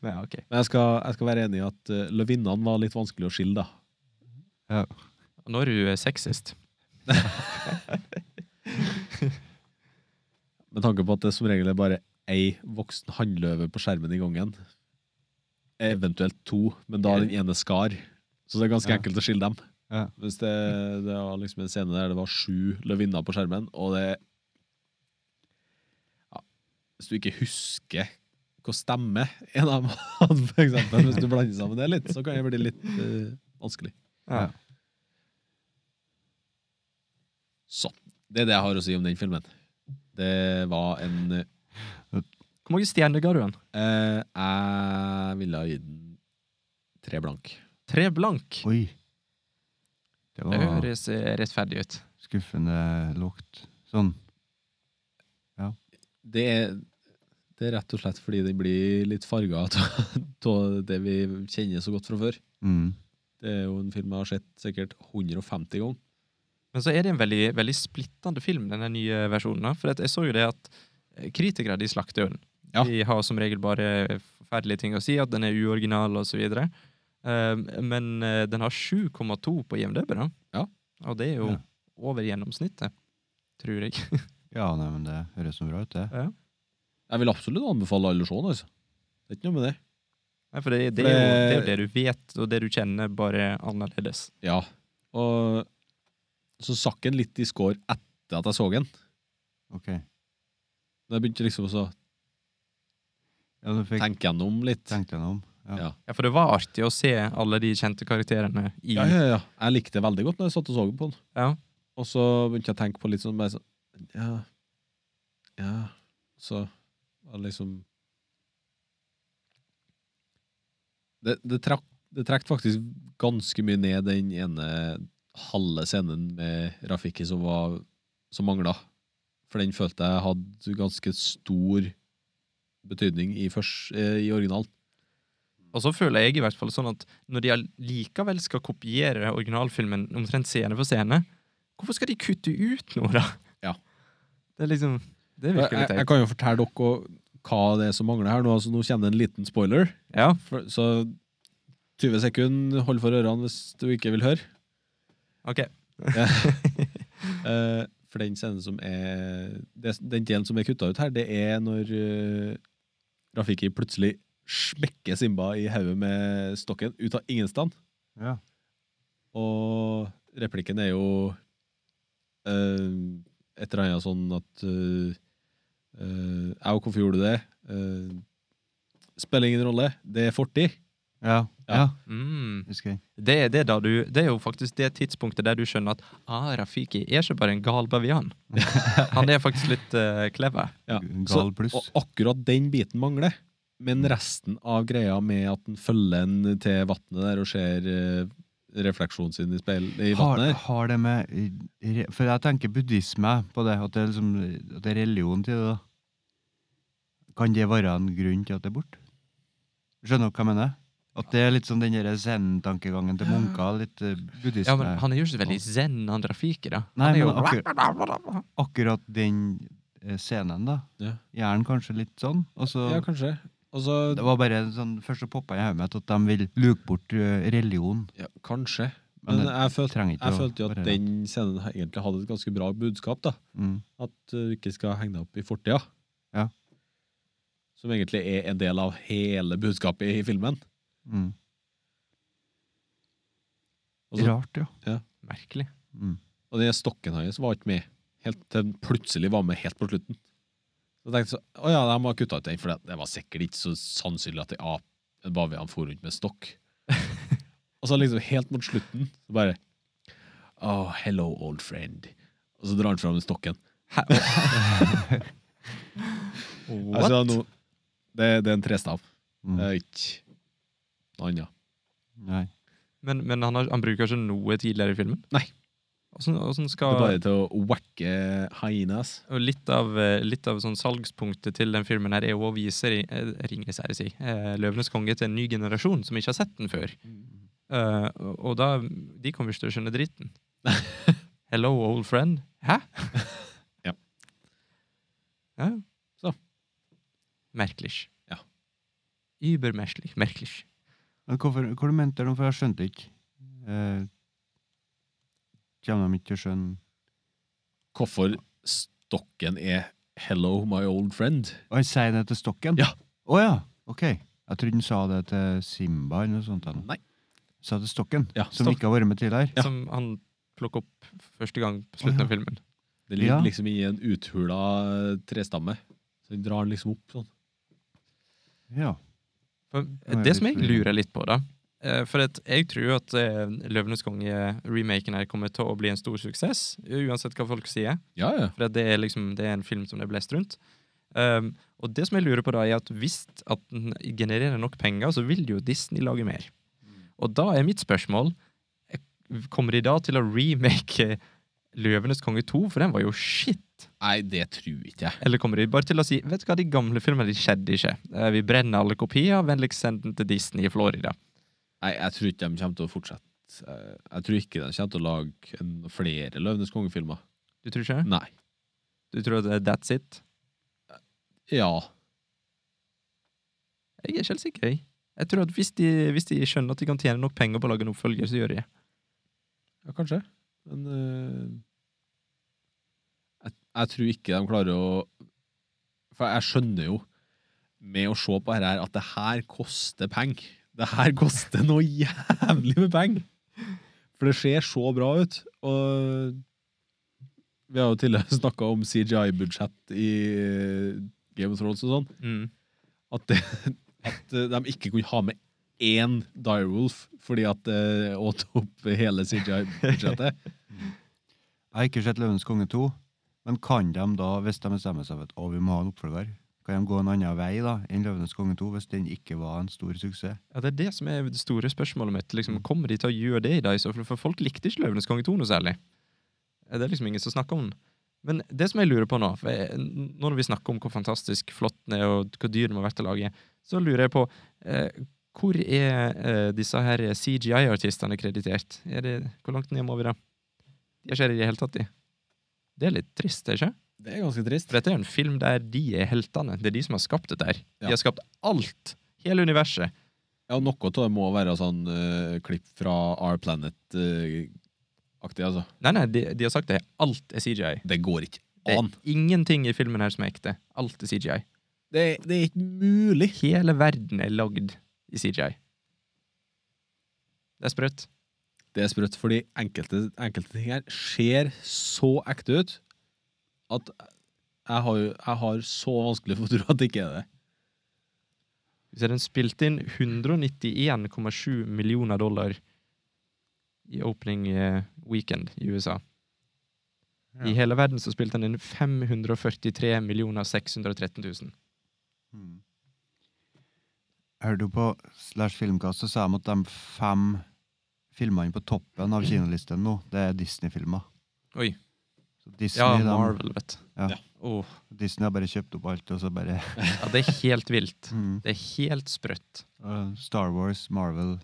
B: Men ja, ok.
C: men jeg, skal, jeg skal være enig i at uh, løvinnene var litt vanskelig å skille, da.
B: Og Nå er du eh, sexist.
C: Med tanke på at det som regel er bare ei voksen hannløve på skjermen i gangen. Eventuelt to, men da er den ene skar. Så det er ganske
A: Ja.
C: enkelt å skille dem.
A: Ja.
C: Hvis det, det var liksom en scene der det var sju løvinner på skjermen, og det ja, Hvis du ikke husker hva stemme en av dem hadde, for eksempel, hvis du blander sammen det litt, så kan det bli litt eh, vanskelig.
B: Ja.
A: Ja.
C: Så. Det er det jeg har å si om den filmen. Det var en eh,
B: Hvor mange stjerner ga du han?
C: Eh, jeg ville ha gitt den tre blank.
B: Tre blank.
A: Oi. Det
B: Det
A: var
B: høres eh, rettferdig ut.
A: skuffende lukt. Sånn.
C: Det er, det er rett og slett fordi den blir litt farga av (laughs) det vi kjenner så godt fra før.
A: Mm.
C: Det er jo en film jeg har sett sikkert 150 ganger.
B: Men så er det en veldig, veldig splittende film, denne nye versjonen. da. For at jeg så jo det at eh, kritikere de slakter jo den.
C: Ja.
B: De har som regel bare forferdelige ting å si, at den er uoriginal og så videre. Um, men eh, den har 7,2 på IMDb, da.
C: Ja.
B: Og det er jo
A: Ja.
B: over gjennomsnittet, tror jeg. (laughs)
A: Ja, nei, men det høres så bra ut, det.
C: Jeg vil absolutt anbefale alle å se den. altså. Det er ikke noe med det.
B: Nei, for det, det,
C: For
B: er jo, det er
C: det-
B: jo det du vet, og det du kjenner, bare annerledes.
C: Ja. Og så sakk den litt i skår etter at jeg så den.
A: Ok.
C: Da jeg begynte liksom å så
A: Ja, du fikk
C: tenke gjennom litt.
A: tenkt deg om. Ja.
C: Ja.
B: Ja, For det var artig å se alle de kjente karakterene i
C: Ja, ja, ja. Jeg likte det veldig godt når jeg satt og så den på den.
B: Ja.
C: Og så begynte jeg å tenke på litt sånn bare sånn Ja. Ja. Så var det liksom Det, det trakk det trekk faktisk ganske mye ned den ene halve scenen med Rafiki som, var, som mangla. For den følte jeg hadde ganske stor betydning i, først, eh, i originalen.
B: Og så føler jeg i hvert fall sånn at når de likevel skal kopiere originalfilmen omtrent scene for scene, Hvorfor skal de kutte ut noe, da?
C: Ja.
B: Det er liksom Det
C: Jeg,
B: virker litt
C: jeg, jeg
B: teit.
C: kan jo fortelle dere hva det er som mangler her nå. Altså, nå kommer det en liten spoiler.
B: Ja.
C: For, så 20 sekunder, hold for ørene hvis du ikke vil høre.
B: OK.
C: Eh, for den scenen som er det, Den delen som er kutta ut her, det er når eh, Rafiki plutselig smekker Simba i hodet med stokken ut av ingenstand.
A: Ja.
C: Og replikken er jo eh, et eller annet sånn at eh, eh, Au, hvorfor gjorde du det? Eh, spiller ingen rolle, det er fortid.
A: Ja.
C: Ja.
A: ja.
B: Mm.
A: Husker jeg.
B: Det, er det, da du, det er jo faktisk det tidspunktet der du skjønner at ah, Rafiki er ikke bare en gal
C: (laughs)
B: bavian. Han er faktisk litt eh, clever.
C: Ja. Så,
A: Gal pluss.
C: og akkurat den biten mangler. Men
A: Mm.
C: resten av greia med at den følger en til vannet der og ser eh, refleksjonen sin i, speil, i
A: Har,
C: vannet der.
A: har det med re- For jeg tenker buddhisme på det, at det er, liksom, at det er religion til det. da. Kan det være en grunn til at det er borte? Skjønner dere hva jeg mener? At det er litt sånn den der zen-tankegangen til munker. Litt eh, buddhisme.
B: Ja, men Han er jo ikke så veldig zen, han Rafiki, da.
A: Nei,
B: han er
A: men
B: jo
A: akkurat, akkurat den eh, scenen, da.
C: Ja.
A: Gjerne kanskje litt sånn. Og så
C: Ja, kanskje. Altså, Og så-
A: Det var bare en sånn Først så poppa jeg i hodet mitt at de vil luke bort eh, religion.
C: ja, kanskje.
A: Men
C: Men
A: det
C: jeg følte,
A: trenger ikke
C: jeg
A: å
C: følte jo at
A: være
C: den scenen her egentlig hadde et ganske bra budskap. da.
A: Mm.
C: At eh, du ikke skal henge deg opp i fortida.
A: Ja.
C: Som egentlig er en del av hele budskapet i filmen.
A: Mm.
C: Og så-
A: Rart, ja.
B: (laughs) Merkelig.
A: Mm.
C: Og den stokken hans var ikke med Helt til den plutselig var med helt på slutten Så tenkte jeg så, å ja, de har kuttet ut den For det, det var sikkert ikke så sannsynlig at det ap En bavian for rundt med stokk Og så liksom helt mot slutten Så bare Oh, hello old friend Og så drar han frem stokken
B: What?
C: altså, nå, det, det er en trestav
A: Mm.
C: Det er ikke noe annet
A: Nei.
B: men men han, har, han bruker ikke noe tidligere i filmen?
C: Nei.
B: Hvordan, hvordan
C: Det
B: skal...
C: er bare til å wacke hyenas
B: Og litt av, eh, litt av sånn salgspunktet til den filmen her er jo å vise Ri- eh, Ringenes herre, si, eh, Løvenes konge til en ny generasjon som ikke har sett den før. Eh, og- og da De kommer ikke til å skjønne
C: (laughs)
B: driten. Hello, old friend. Hæ?
C: Ja.
B: ja.
C: Så.
B: Merkelig.
C: Ja.
B: Übermerkelig. Merkelig.
A: Men hvorfor, hvor mente de, for jeg skjønte ikke. Eh, kommer de ikke til å skjønne
C: Hvorfor stokken er Hello my old friend
A: Og han sier det til stokken?
C: Ja.
A: Å ja, ok. Jeg trodde han sa det til Simba eller noe sånt. eller noe.
C: Nei
A: Sa det til stokken,
C: Ja,
A: som
C: stokk.
A: ikke har vært med tidligere.
C: Ja.
B: Som han plukker opp første gang på slutten av filmen.
C: Det ligger
A: Ja.
C: liksom i en uthula eh, trestamme. Så den drar den liksom opp sånn.
A: Ja.
B: For
A: er
B: det
A: litt
B: som jeg
A: forvirrende.
B: lurer litt på, da eh, For at jeg tror jo at eh, Løvenes konge-remaken her kommer til å bli en stor suksess, uansett hva folk sier.
C: Ja, ja.
B: For at det er liksom det er en film som det er blest rundt. Um, og det som jeg lurer på, da, er at hvis at den genererer nok penger, så vil jo Disney lage mer. Og da er mitt spørsmål eh, Kommer de da til å remake eh, Løvenes konge 2, for den var jo shit?
C: Nei, det tror ikke jeg.
B: Eller kommer de bare til å si Vet du hva, de gamle filmene de skjedde ikke. Eh, Vi brenner alle kopier, vennligst send den til Disney i Florida.
C: Nei, jeg tror ikke de kommer til å fortsette. Eh, Jeg tror ikke de kommer til å lage en, flere Løvenes konge-filmer.
B: Du tror ikke det?
C: Nei.
B: Mm. Du tror at det er that's it?
C: Ja.
B: Jeg er ikke helt sikker, jeg. Jeg tror at hvis de, hvis de skjønner at de kan tjene nok penger på å lage en oppfølger, så gjør de det.
C: ja, kanskje. Men eh, jeg, jeg tror ikke de klarer å For jeg skjønner jo, med å se på dette, her, at det her koster penger. Det her (laughs) koster noe jævlig med penger! For det ser så bra ut. Og vi har jo tidligere snakka om CGI-budsjett i eh, Game of Thrones og sånn.
B: Mm.
C: at, det, at eh, de ikke kunne ha med én Direwolf fordi at det åt opp hele CGI-budsjettet.
A: Jeg har ikke sett Løvenes konge 2, men kan de da, hvis de bestemmer seg for at å, vi må ha en oppfølger, kan de gå en annen vei da enn Løvenes konge 2 hvis den ikke var en stor suksess?
B: Ja, Det er det som er det store spørsmålet mitt. Liksom, kommer de til å gjøre det i dag? i så fall? For folk likte ikke Løvenes konge 2 noe særlig. Eh, Det er liksom ingen som snakker om den. Men det som jeg lurer på nå, for jeg, n- nå når vi snakker om hvor fantastisk flott den er, og hvor dyr den har vært å lage, så lurer jeg på eh, hvor er eh, disse her CGI-artistene kreditert? Er det, hvor langt ned må vi da? Det skjer i det hele tatt i. Det er litt trist, det er ikke?
C: Det er ganske trist.
B: For dette er jo en film der de er heltene. Det er de som har skapt dette her.
C: Ja.
B: De har skapt alt. Hele universet.
C: Ja, noe av det må være sånn eh, klipp fra Our Planet-aktig, altså.
B: Nei, nei, de, de har sagt det. Alt er CGI.
C: Det går ikke
B: Det er
C: an.
B: ingenting i filmen her som er ekte. Alt er CGI.
C: Det, det er ikke mulig.
B: Hele verden er lagd i CGI. Det er sprøtt.
C: Det er sprøtt, fordi enkelte, enkelte ting her ser så ekte ut at jeg har, jo- jeg har så vanskelig for å tro at det ikke er det.
B: Så den spilte inn 191,7 millioner dollar i opening eh, weekend i USA. I hele verden så spilte den inn 543 millioner 613 000.
A: Mm. Hørte du på Slash Filmkast, så sa de at de fem filmene på toppen av kinolisten nå, det er Disney-filmer.
B: Oi.
A: Så Disney,
B: Ja,
A: de-
B: Marvel, vet du.
A: Ja.
C: Ja.
B: Åh,
A: Disney har bare kjøpt opp alt, og så bare (laughs)
B: ja, det er helt vilt.
A: mm.
B: Det er helt sprøtt.
A: Og Star Wars, Marvel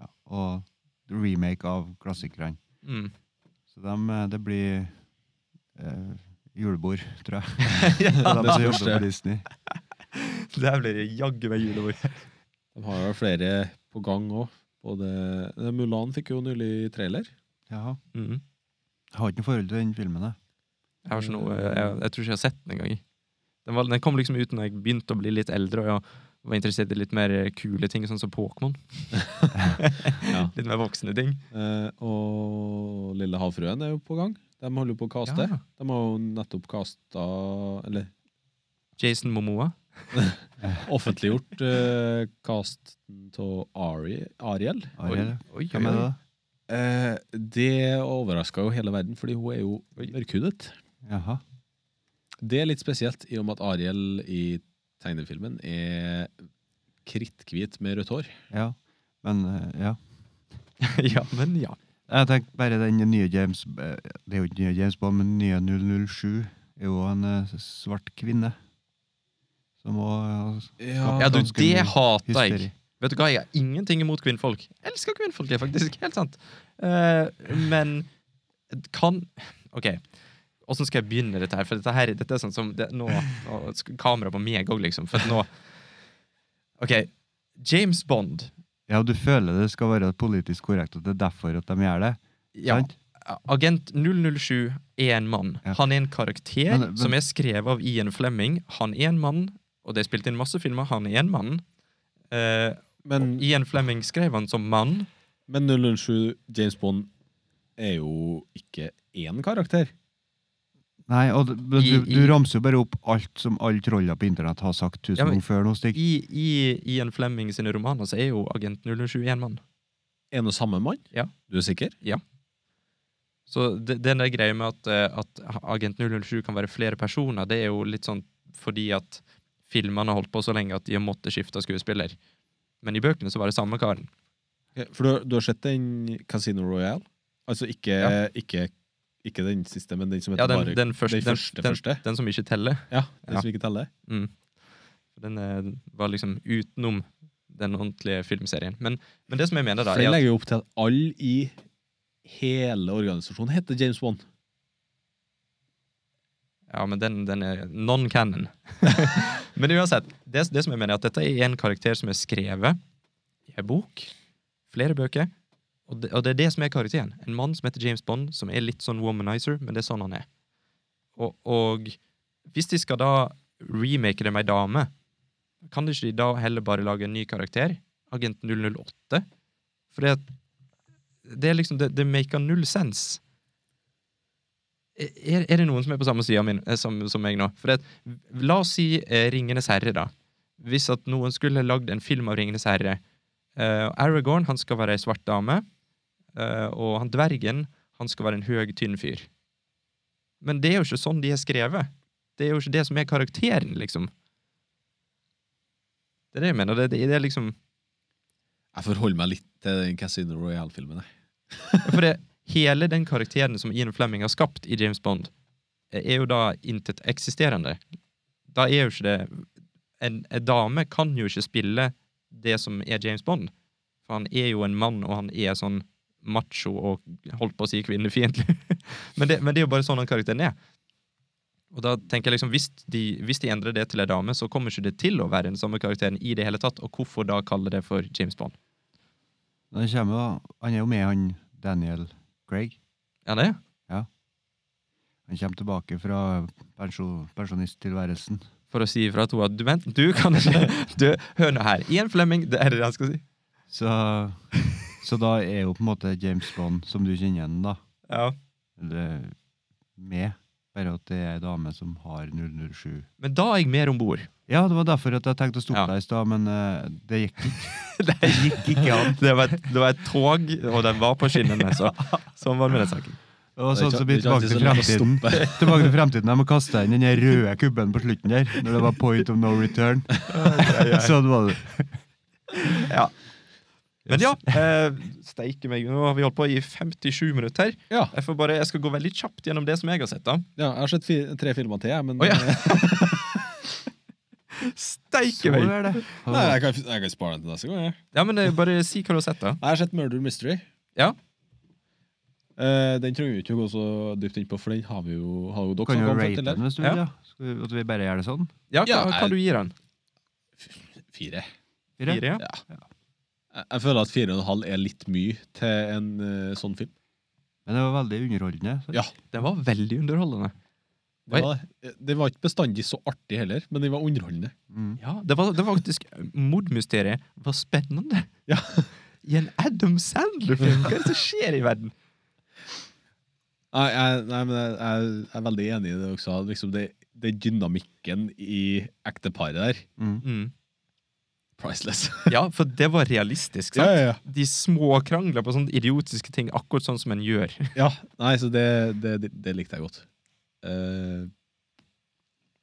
A: ja, og remake av klassikerne.
B: Mm.
A: Så dem, eh, det blir eh, julebord, tror
B: (laughs)
A: jeg.
B: ja,
A: De som jobber på Disney.
B: der blir det jaggu meg julebord.
C: De har jo flere på gang òg. Mulan fikk jo nylig trailer.
A: Jaha.
B: Mm.
A: Jeg har ikke noe forhold til den filmen, jeg.
B: Jeg, har ikke noe, jeg, jeg tror ikke jeg har sett den engang. Den, var, den kom liksom ut når jeg begynte å bli litt eldre, og jeg var interessert i litt mer eh, kule ting, sånn som Pokémon.
C: Ja.
B: Litt mer voksne ting.
C: Eh, og Lille havfruen er jo på gang. De holder jo på å kaste.
B: Ja.
C: De har jo nettopp kasta Eller
B: Jason Momoa.
C: offentliggjort eh, casten av Ari, Ariel.
A: Ariel,
B: oi,
A: hvem er det? da?
C: Eh, det overraska jo hele verden, fordi hun er jo mørkhudet.
A: Jaha.
C: Det er litt spesielt, i og med at Ariel i tegnefilmen er kritthvit med rødt hår.
A: Ja. Men, eh, ja.
B: (laughs) ja, men ja.
A: Jeg tenkte bare den nye James eh, Det er jo ikke nye James Bond, men nye 007 er jo en eh, svart kvinne. Som eh, òg
C: Ja,
B: Ja, du,
A: ganske
B: det
A: mye
B: hater jeg.
A: hysteri.
B: Vet du hva, jeg har ingenting imot kvinnfolk. Jeg elsker kvinnfolk, det er faktisk helt sant. Eh, men kan OK. Åssen skal jeg begynne dette her? For dette her, dette er sånn som det, Nå, nå sk- kamera på meg òg, liksom. For at nå OK. James Bond.
A: Ja, du føler det skal være politisk korrekt, at det er derfor at de gjør det.
B: Ja,
A: Sant?
B: Agent 007 er en mann.
A: Ja.
B: Han er en karakter
A: Men- men-
B: som er skrevet av Ian Fleming. Han er en mann, og det er spilt inn masse filmer. Han er en mann. Eh,
A: Mm.
C: men,
B: Ian Fleming skrev han som mann.
C: men 007 James Bond er jo ikke én karakter.
A: Nei, og det- men
B: I-
A: du, du
B: i-
A: ramser jo bare opp alt som alle troller på internett har sagt tusen
B: Ja, men-
A: ganger før nå, Stig.
B: I, I Ian Fleming sine romaner så er jo Agent 007 en mann.
C: En og samme mann?
B: Ja.
C: Du er sikker?
B: Så det, den der greia med at, eh, at Agent 007 kan være flere personer, det er jo litt sånn fordi at filmene har holdt på så lenge at de har måttet skifte skuespiller. Men i bøkene så var det samme karen.
C: Ok, For du, har- du har sett den Casino Royale? Altså ikke,
B: Ja.
C: ikke, ikke den siste, men den som
B: Ja,
C: heter
B: den,
C: bare
B: den første,
C: den
B: den,
C: første,
B: den,
C: første.
B: den som ikke teller.
C: Ja, den
B: Ja.
C: som ikke teller.
B: Mm. Den eh, var liksom utenom den ordentlige filmserien. Men, men det som jeg mener, da
C: For
B: er
C: den
B: at,
C: legger jo opp til at alle i hele organisasjonen heter James Bond.
B: Ja, men den, den er non-canon. (laughs) men uansett, det, det som jeg mener, er at dette er en karakter som er skrevet i en bok, flere bøker, og det, og det er det som er karakteren. En mann som heter James Bond, som er litt sånn womanizer, men det er sånn han er. Og, og hvis de skal da remake det med ei dame, kan de ikke de da heller bare lage en ny karakter? Agent 008? For det, det er liksom Det, det maker null sens. Eh, Er, er det noen som er på samme sida eh, som, som meg nå? For det, at- la oss si eh, Ringenes herre, da. Hvis at noen skulle lagd en film av Ringenes herre eh, Aragorn han skal være ei svart dame, eh, og han dvergen han skal være en høy, tynn fyr. Men det er jo ikke sånn de er skrevet. Det er jo ikke det som er karakteren, liksom. Det er det jeg mener. Det, det, det er liksom
C: Jeg forholder meg litt til den Casino Royale-filmen. jeg.
B: For det, hele den karakteren som Ian Fleming har skapt i James Bond, eh, er jo da intet eksisterende. Da er jo ikke det En, en dame kan jo ikke spille det som er James Bond. For han er jo en mann, og han er sånn macho og holdt på å si kvinnefiendtlig. (laughs) men, det, men det er jo bare sånn den karakteren er. Og da tenker jeg liksom, hvis de, hvis de endrer det til ei dame, så kommer ikke det til å være den samme karakteren i det hele tatt. Og hvorfor da kalle det for James Bond?
A: Men det kommer, jo- han er jo med, han Daniel Craig.
B: Er det?
A: Han kommer tilbake fra pensjon, pensjonisttilværelsen.
B: For å si ifra til henne at du, vent, du kan ikke du, Hør nå her. Ian Flemming, det er det han skal si.
A: Så, så da er jo på en måte James Bond, som du kjenner igjen, da,
B: Ja.
A: eller med. Bare at det er ei dame som har 007.
B: Men da er jeg mer om bord.
A: Ja, det var derfor at jeg tenkte å stoppe
B: Ja.
A: deg i stad, men eh, det gikk ikke.
B: Det
A: gikk ikke an.
B: (laughs) Det var, et, det var et tog, og den var på skinnene. Så sånn var det med den saken.
A: Og
C: Det er
A: sånn
C: ikke-
A: som blir
C: det er
A: tilbake
C: ikke alltid
A: til
C: så lett å
A: fremtiden.
C: stoppe.
A: (laughs) Tilbake til fremtiden, Jeg må kaste inn den der røde kubben på slutten der, når det var point of no
C: (laughs)
A: return. (laughs) Sånn var det.
B: Ja. Men ja, eh, steike meg, nå har vi holdt på i 57 minutter.
C: Ja,
B: Jeg, får bare, jeg skal gå veldig kjapt gjennom det som jeg har sett. da.
C: ja, jeg har sett fi tre filmer til, jeg, men
B: Å, ja.
C: eh, (laughs)
B: Steike
A: Så
B: meg!
A: er det.
C: nei, jeg, kan, jeg kan spare den til neste gang. Jeg,
B: Ja, men eh, Bare si hva du har sett, da.
C: jeg har sett Murder Mystery.
B: Ja.
C: Eh, den trenger vi ikke å gå så dypt innpå, for den har vi jo, har jo dere
A: Kan jo
C: snakket om
A: rate
C: før, eller?
A: den hvis du
B: Ja.
A: vil, ja. Skal vi, at vi bare gjør det sånn?
B: Ja, Hva,
C: Ja,
B: hva
C: jeg-
B: du gir den?
C: Fire.
A: Fire?
B: Fire? ja?
C: Jeg, jeg føler at fire og en halv er litt mye til en eh, sånn film.
A: Men det var veldig underholdende. så-
C: Ja.
B: Den var veldig underholdende. Oi.
C: Det var, eh, det var ikke bestandig så artig heller, men den var underholdende.
A: Mm.
B: Ja, Det var, det var faktisk eh, Mordmysteriet var spennende.
C: Ja.
B: I en Adam Sandler-film! Hva er det som skjer i verden?
C: Nei, jeg, nei, men jeg, jeg, jeg er veldig enig i det dere sa. Liksom det, det dynamikken i ekteparet der.
A: Mm.
B: Mm.
C: Priceless. (laughs)
B: Ja, for det var realistisk. sant?
C: ja, ja.
B: de små krangler på sånne idiotiske ting, akkurat sånn som en gjør.
C: ja, nei, så det, det, det, det likte jeg godt. Eh,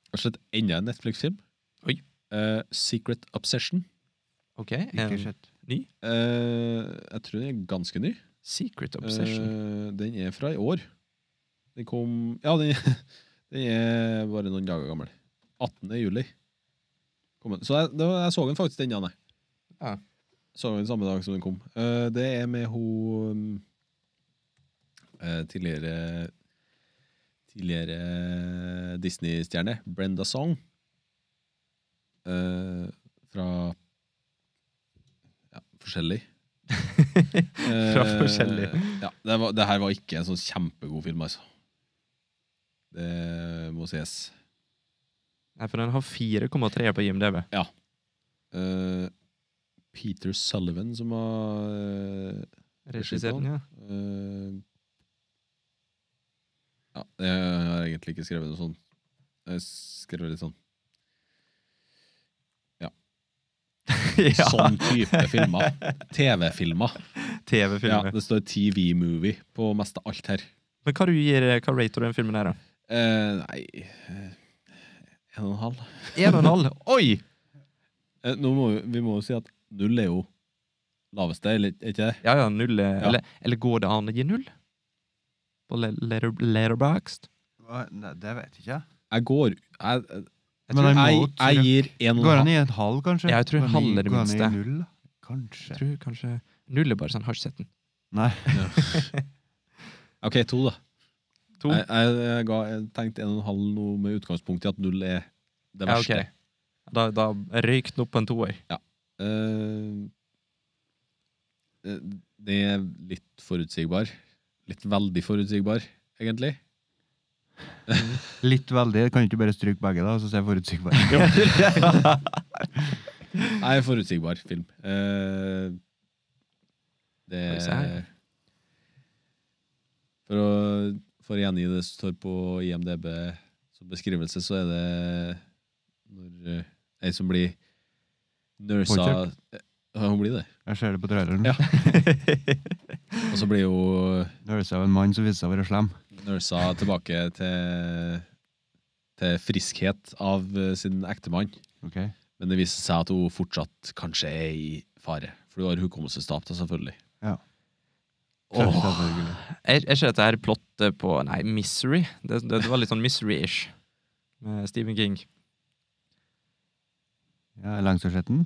C: Jeg har sett enda en Netflix-film.
B: Oi.
C: Eh, Secret Obsession.
B: Ok, em,
A: Ikke sett.
C: Eh, jeg tror den er ganske ny.
B: Secret Obsession.
C: Eh, den er fra i år. Den kom Ja, den, (laughs) den er bare noen dager gammel. 18. juli. Kom den. Så jeg, det var, jeg så den faktisk den dagen, jeg.
B: Ja.
C: Så den samme dag som den kom. Eh, det er med hun mm, eh, tidligere Tidligere Disney-stjerne Brenda Song. Eh, fra ja, forskjellig.
B: (laughs) Fra forskjellig.
C: Eh, Ja, det, var, det her var ikke en sånn kjempegod film, altså. Det må sies.
B: Nei, for den har 4,3 på IMDb.
C: Eh, Peter Sullivan, som var eh,
B: Regissert den, ja.
C: eh, Ja, jeg har egentlig ikke skrevet noe sånt. Jeg skrev
A: (laughs)
C: litt sånn
B: (laughs) ja.
C: Sånn type filmer. TV-filmer. Ja,
B: TV-filmer.
C: det står TV-movie på mest av alt her.
B: Men hva, du gir, eh, hva rater du den filmen her, da?
C: Eh, nei eh, En og en halv.
B: En og en halv? Oi!
C: Eh, Nå må vi, vi må jo si at null er jo laveste, eller er ikke det?
B: Ja, ja, null. eh,
C: Ja.
B: Eller, eller går det an å gi null? På le- letter, Letterboxd?
A: Hva? Nei, det vet jeg ikke.
C: Jeg går Jeg,
B: Jeg
A: Men
B: tror,
A: han må
C: jeg,
A: tror
C: jeg
A: jeg.
C: gir en og
A: Går
C: en
A: han
C: halv.
A: i en halv, kanskje?
B: Ja, jeg tror
A: Går han i-
B: halv er det
A: går han i
B: minste.
A: null, da?
B: jeg
A: Kanskje.
B: tror kanskje Null er bare sånn, har ikke sett den.
C: OK, to, da.
B: To?
C: Jeg, jeg, jeg, ga, jeg tenkte en og en halv nå med utgangspunkt i at null er det
B: Ja, ok.
C: verste.
B: Da, da røyk den opp på en toer.
C: Eh, eh, det er litt forutsigbar. Litt veldig forutsigbar, egentlig.
A: Litt veldig. Kan du ikke bare stryke begge, da, så ser jeg forutsigbar (laughs)
C: Nei, forutsigbar film. Eh, det
B: Oi, se her.
C: For å for å gjengi det som står på IMDb som beskrivelse, så er det når eh, ei som blir nursa
A: Voldtatt?
C: Eh, ja, Hun blir det.
A: Jeg ser det på traileren.
C: Ja. Og så blir hun
A: Når det seg av en mann som viser seg å være slem.
C: nursa tilbake til, til friskhet av eh, sin ektemann.
A: Ok.
C: Men det viser seg at hun fortsatt kanskje er i fare. For du har hukommelsestap, da, selvfølgelig.
B: Åh.
A: Selvfølgelig.
B: Er, er ikke dette her plottet på Nei, Misery? Det, det, det var litt sånn Misery-ish med Stephen King.
A: Ja, Langsårsetten.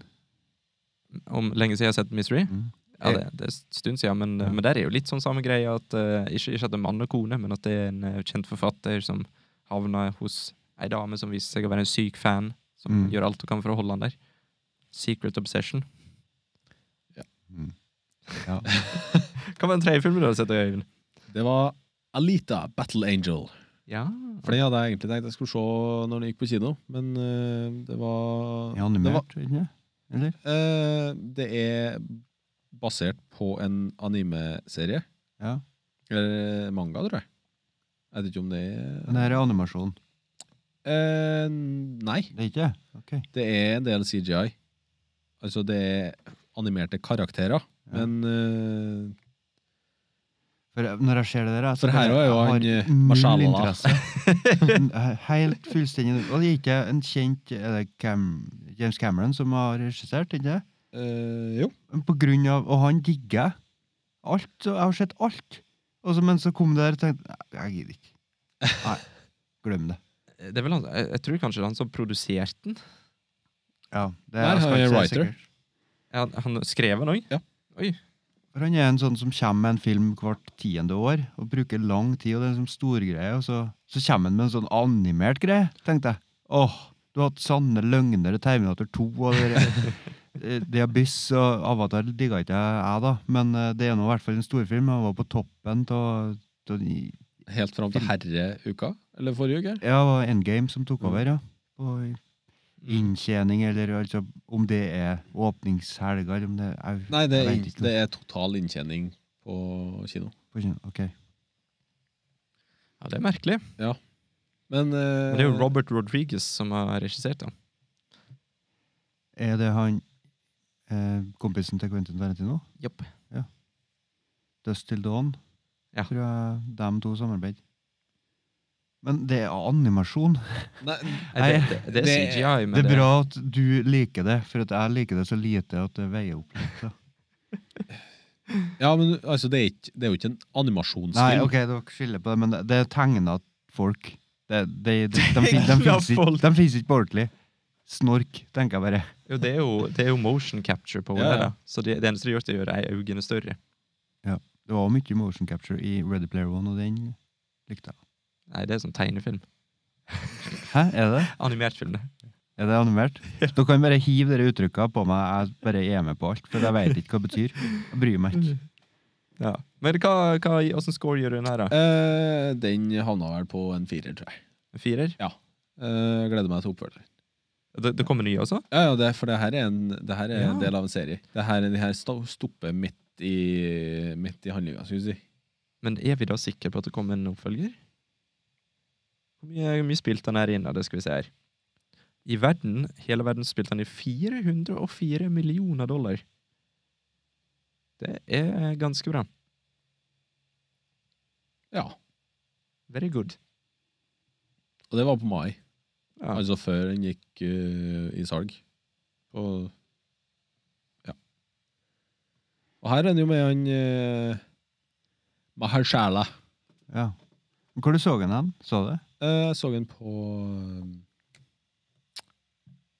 B: Om lenge siden jeg har sett Misery.
A: Mm.
B: Ja, det, det er en stund siden, men,
C: Ja.
B: men der er jo litt sånn samme greie. At, eh, ikke, ikke at det er mann og kone, men at det er en eh, kjent forfatter som havner hos ei dame som viser seg å være en syk fan, som
A: Mm.
B: gjør alt hun kan for å holde han der. Secret Obsession.
A: Mm.
B: (laughs) Hva var den tredje filmen du hadde sett, Øyvind?
C: Det var Alita, Battle Angel.
B: Ja.
C: For den hadde jeg egentlig tenkt jeg skulle se når den gikk på kino, men eh, det var
A: Ja,
C: det, var,
A: Animert, ikke det? Eller?
C: eh, det er basert på en anime-serie.
A: Ja.
C: Eller manga, tror jeg. Jeg vet ikke om det er
A: Det her er animasjon.
C: Eh, Nei.
A: Det er ikke det? Ok.
C: Det er en del CGI. Altså, det er animerte karakterer,
A: Ja.
C: men eh,
A: For eh, når jeg ser det der altså, jeg-
C: For her også er jo
A: jeg har
C: han, eh,
A: null
C: Marshala.
A: (laughs) interesse. Helt fullstendig Og det er ikke en kjent Er det Cam, James Cameron som har regissert, ikke det?
C: eh, Jo.
A: Men På grunn av Og han digger alt. så Jeg har sett alt. Og så, men så kom det der og tenkte "Nei, Jeg gidder ikke. Nei. Glem det.
B: Det er vel han, jeg, jeg tror kanskje det er han som produserte den.
A: Ja, det
C: Der
A: jeg
C: har
A: skal
C: vi
A: ikke si
C: writer.
A: sikkert.
B: Ja, han skrev den òg.
A: For han er en sånn som kommer med en film hvert tiende år, og bruker lang tid, og det er en sånn storgreie, og så, så kommer han med en sånn animert greie, tenkte jeg. Åh, du har hatt sanne løgner og Terminator 2, og det, (laughs) eh, det er byss, og Avatar digga ikke jeg da, men eh, det er nå i hvert fall en storfilm, han var på toppen til Ja,
C: Helt fram til herreuka, eller forrige uke.
A: det var Endgame som
C: Mm.
A: tok over, ja. Og inntjening, eller altså, om det er åpningshelga, eller om det er...
C: Nei, det er,
A: Jeg vet
C: inn-
A: ikke.
C: det er total inntjening på kino.
A: Ok.
B: Ja, det er merkelig.
C: Men eh,
B: Men det er jo Robert Rodriguez som har regissert den.
A: Er det han eh, kompisen til Quentin Tarantino?
B: Japp.
A: Dust Till Dawn?
B: Ja.
A: Tror jeg dem to samarbeider. Men det er animasjon.
C: Nei,
B: Nei,
A: Nei,
B: det, det, det er
C: det-
B: CGI, men
A: det er bra at du liker det, for at jeg liker det så lite at det veier opp litt. da.
C: ja, men altså, det er, ikke, det er jo ikke en
A: Nei,
C: animasjonsfilm.
A: ok, dere skylder på det, men det, det er tegna folk. Det, det, de, de, de, fin- de,
B: Tegnet
A: finnes ikke,
B: folk.
A: de finnes ikke på ordentlig. Snork, tenker jeg bare.
B: Jo, det er jo, det er jo motion capture på
C: Ja,
B: det.
C: ja.
B: da. Så det, det eneste de gjør, er å gjøre ei øynene større.
A: Det var mye motion capture i Ready Player One, og den likte jeg.
B: Nei, det er sånn tegnefilm.
A: Hæ, er det?
B: Animert film, det.
A: Er det
B: (laughs)
A: animert? Dere kan bare hive dere uttrykka på meg. Jeg bare er med på alt, for jeg vet ikke hva det betyr. Jeg bryr meg ikke.
B: Mm. Ja. Men hva, hva, hvordan score gjør du den her, da?
C: Eh, den havna vel på en firer, tror jeg.
B: En Firer?
C: Eh, gleder meg til oppfølgeren.
B: Det, det kommer nye også?
C: Ja, ja, det, er- for det her er en, det her er en
B: Ja.
C: del av en serie. Det her, de her sto- stopper midt i, midt i handlinga, skal vi si.
B: Men er vi da sikre på at det kommer en oppfølger? Hvor mye, hvor mye spilte han her inne? Det skal vi se her. I verden, hele verden spilte han i 404 millioner dollar. Det er ganske bra.
C: Ja.
B: Very good. (laughs)
C: Og det var på mai,
B: Ja.
C: altså før den gikk eh, i salg. Og ja. Og her er den jo med han uh, Mahershala.
A: Ja. Men Hvor du så den hen? Så du det?
C: Eh, Jeg så den på eh,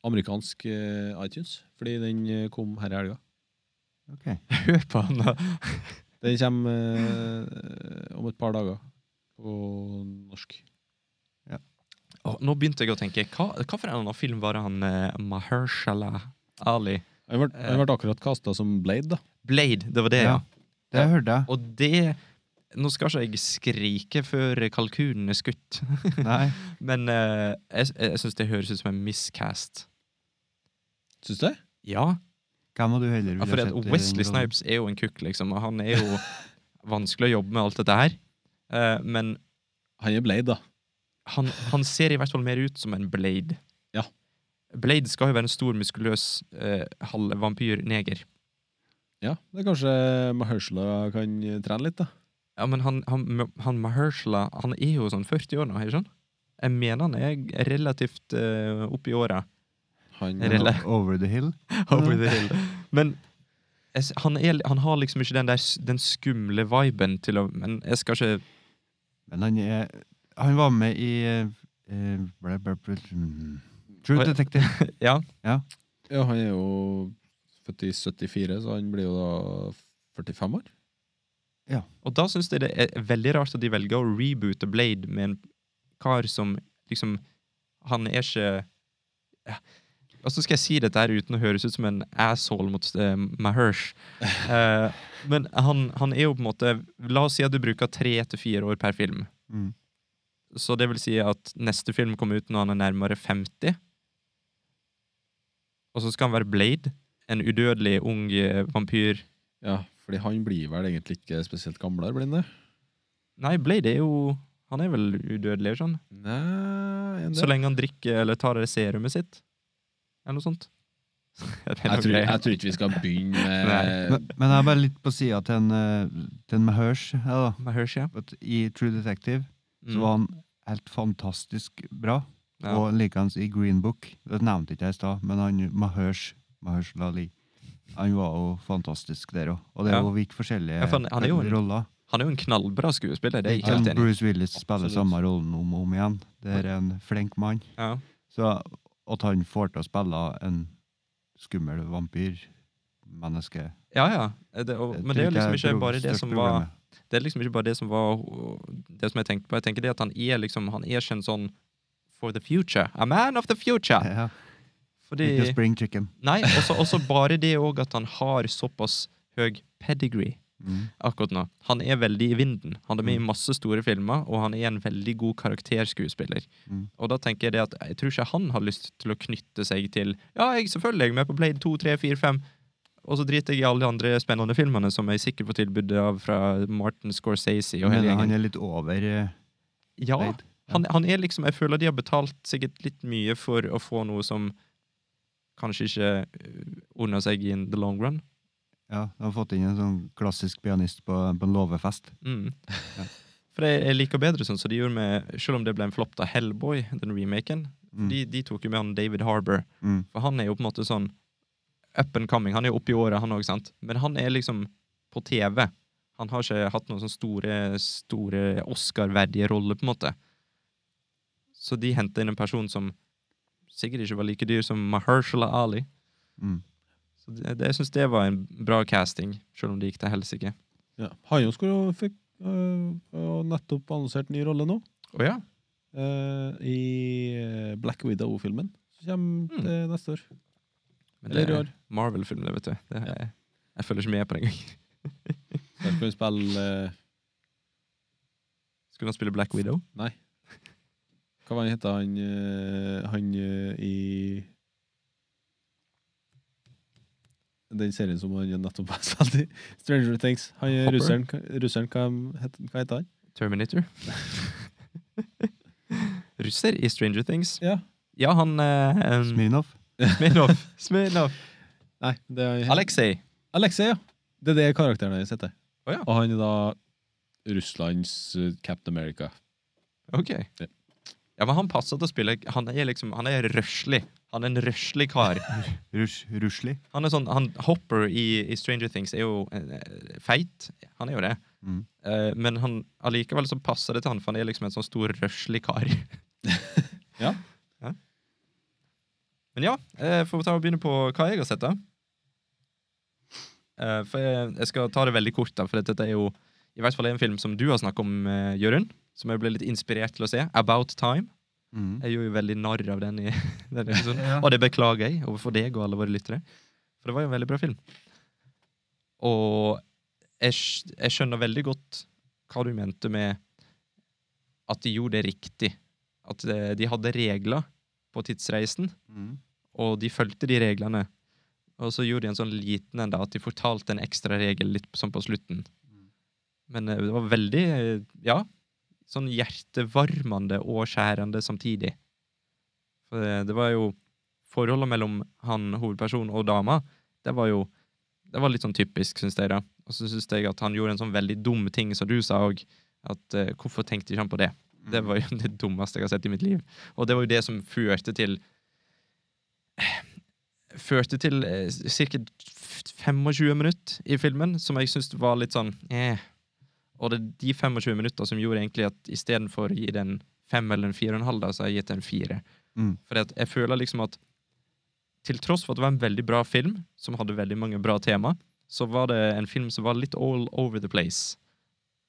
C: amerikansk eh, iTunes, fordi den eh, kom her i helga.
A: Ok.
B: Hør på han, da.
C: Den kommer eh, om et par dager på norsk.
B: Å, nå begynte jeg å tenke, hva, hva for en annen film var det han eh, Mahershala Ali?
C: Han ble, han ble akkurat kasta som Blade, da.
B: Blade, det var det, ja.
A: Ja. Det hørte jeg.
B: Og det Nå skal ikke jeg skrike før kalkunen er skutt, (laughs)
A: Nei.
B: men eh, jeg, jeg syns det høres ut som en miscast.
C: Syns du? det?
B: Ja,
A: Hvem hadde du heller
B: ja
A: ville
B: for
A: sett eh, i den
B: Wesley
A: rollen?
B: Snipes er jo en kukk, liksom, og han er jo vanskelig å jobbe med alt dette her. Eh, men
C: Han er Blade, da.
B: han, han ser i hvert fall mer ut som en Blade.
C: Ja.
B: Blade skal jo være en stor, muskuløs eh, halvvampyr-neger.
C: Ja, det er kanskje Mahershala kan trene litt, da.
B: Ja, men han, han, han Mahershala Han er jo sånn 40 år nå, ikke sant? Jeg mener han er relativt eh, opp i åra.
C: Han,
B: Er det lett?
A: Over the Hill?
B: (laughs) Over the hill. Men jeg, s- han, er, han har liksom ikke den der s- den skumle viben til å Men jeg skal ikke
A: Men han er Han var med i eh, bla, bla, bla, mm. True
B: Oi. (laughs)
A: Detective.
B: Ja.
C: ja, han er jo født i 74, så han blir jo da 45 år?
B: Og da syns jeg det er veldig rart at de velger å reboote Blade med en kar som liksom Han er ikke Ja. Og så skal jeg si dette her uten å høres ut som en asshole mot eh, Mahersh. Eh, men han, han er jo på en måte La oss si at du bruker tre til fire år per film.
A: Mm.
B: Så det vil si at neste film kommer ut når han er nærmere 50. Og så skal han være Blade, en udødelig ung eh, vampyr.
C: Ja, fordi han blir vel egentlig ikke spesielt gamlere, blir han det?
B: Nei, Blade er jo Han er vel udødelig, eller sånn?
C: Nei en del.
B: Så lenge han drikker eller tar det serumet sitt. Eller noe sånt. (laughs) Det er noe
C: jeg, tror,
B: greier.
C: jeg tror ikke vi skal
B: (laughs)
C: begynne med
A: Men, men jeg er bare litt på sida til en, eh, til en Mahersh. Ja, da.
B: Med Hershey, ja.
A: At I True Detective så
B: Mm.
A: var han helt fantastisk bra.
B: Ja.
A: Og likeens i Green Book. Det nevnte ikke jeg i stad, men han Mahersh, Mahersh Lali han var jo fantastisk der òg. Og det er
B: Ja.
A: jo vidt forskjellige
B: Ja, for han- han er jo en-
A: roller.
B: Han er jo en knallbra skuespiller, det er jeg ikke
A: Men
B: helt enig i.
A: Bruce Willis spiller
C: Absolutt.
A: samme rollen om og om igjen. Det er en flink mann.
B: Ja.
A: Så at han får til å spille en skummel vampyr menneske
B: ja, ja. Det, og, men det er jo liksom ikke bare det som var Det er liksom ikke bare det som var ho- Det som jeg tenkte på. Jeg tenker det at han er liksom Han er ikke en sånn for the future. A man of the future!
A: ja. Ikke
B: Fordi
A: spring chicken.
B: Nei, også, også bare det òg at han har såpass høy pedigree.
A: Mm.
B: akkurat nå. Han er veldig i vinden. Han er med i masse store filmer, og han er en veldig god karakterskuespiller.
A: Mm.
B: Og da tenker jeg det at jeg tror ikke han har lyst til å knytte seg til Ja, jeg selvfølgelig er jeg med på Blade 2, 3, 4, 5, og så driter jeg i alle de andre spennende filmene som jeg sikkert får tilbud av fra Martin Scorsese og hele
A: Men han
B: gjengen.
A: er litt over eh,
B: Ja,
A: Blade.
B: han, han er liksom Jeg føler de har betalt sikkert litt mye for å få noe som kanskje ikke øh, ordner seg in the long run.
A: Ja, de har fått inn en sånn klassisk pianist på, på en låvefest.
B: Mm. For jeg, jeg liker bedre sånn som de gjorde med Selv om det ble en flopp av Hellboy, den remaken.
A: Mm.
B: De, de tok jo med han David Harbour.
A: Mm.
B: For han er jo på en måte sånn up and coming. Han er jo oppi året, han òg, sant. Men han er liksom på TV. Han har ikke hatt noen sånne store, store Oscar-verdige roller, på en måte. Så de henta inn en person som sikkert ikke var like dyr som Mahershala Ali.
A: Mm.
B: Så det, det, jeg syns det var en bra casting, selv om det gikk til helsike.
C: ja. Han jo skulle jo fikk øh, og nettopp annonsert ny rolle nå,
B: Å ja.
C: øh, i øh, Black Widow-filmen. Som kommer
B: Mm.
C: til neste år.
B: Men
C: Eller
B: det
C: i
B: er
C: år.
B: Marvel-film, det, vet du. Det er, Jeg følger ikke med på det engang.
C: Der skal hun spille øh,
B: Skulle han spille Black Widow?
C: Hva var han heter han øh, Han øh, i Den serien som han nettopp har spilt i. Stranger Things. Han øh,
B: Hopper.
C: russeren, russeren hva, heter, hva heter han? (laughs)
B: Terminator? Russer i Stranger Things.
C: Ja.
B: Ja, han eh, um,
A: Smirnov.
B: Smirnov. Smirnov.
C: Nei, det er han-
B: Alexei.
C: Alexei, ja. Det er det karakteren hans heter.
B: Å ja.
C: Og han er da Russlands eh, Captain America.
B: Ok.
C: Ja.
B: Ja, men han passer til å spille Han er liksom Han er røslig. Han er en røslig kar.
A: Rush, Rushli.
B: Han er sånn Han Hopper i, i Stranger Things er jo eh, feit. Han er jo det.
A: Mm.
B: Eh, men han allikevel så passer det til han, for han er liksom en sånn stor, røslig kar.
C: Ja.
B: Ja. Men ja, eh, får vi ta og begynne på hva jeg har sett, da. Eh, for jeg, jeg skal ta det veldig kort, da, for dette er jo i hvert fall en film som du har snakket om, eh, Jørund. Som jeg ble litt inspirert til å se. About Time.
A: Mm.
B: Jeg gjorde jo veldig narr av den i (laughs) den episoden. Og det beklager jeg overfor deg og alle våre lyttere. For det var jo en veldig bra film. Og jeg, skj- jeg skjønner veldig godt hva du mente med at de gjorde det riktig. At eh, de hadde regler på tidsreisen,
A: Mm.
B: og de fulgte de reglene. Og så gjorde de en sånn liten en, da, at de fortalte en ekstra regel litt sånn på slutten. Men eh, det var veldig, eh, ja, sånn hjertevarmende og skjærende samtidig. For eh, det var jo forholdet mellom han hovedpersonen og dama, det var jo det var litt sånn typisk, syns jeg. da. Og så syns jeg at han gjorde en sånn veldig dum ting, som du sa òg. At eh, hvorfor tenkte ikke han på det? Det var jo det dummeste jeg har sett i mitt liv. Og det var jo det som førte til Førte til eh, ca. 25 minutter i filmen, som jeg syns var litt sånn eh. Og det er de 25 minutter som gjorde egentlig at istedenfor å gi det en fem eller en fire og en halv, da, så har jeg gitt det en fire.
A: Mm.
B: For jeg føler liksom at til tross for at det var en veldig bra film, som hadde veldig mange bra tema, så var det en film som var litt all over the place.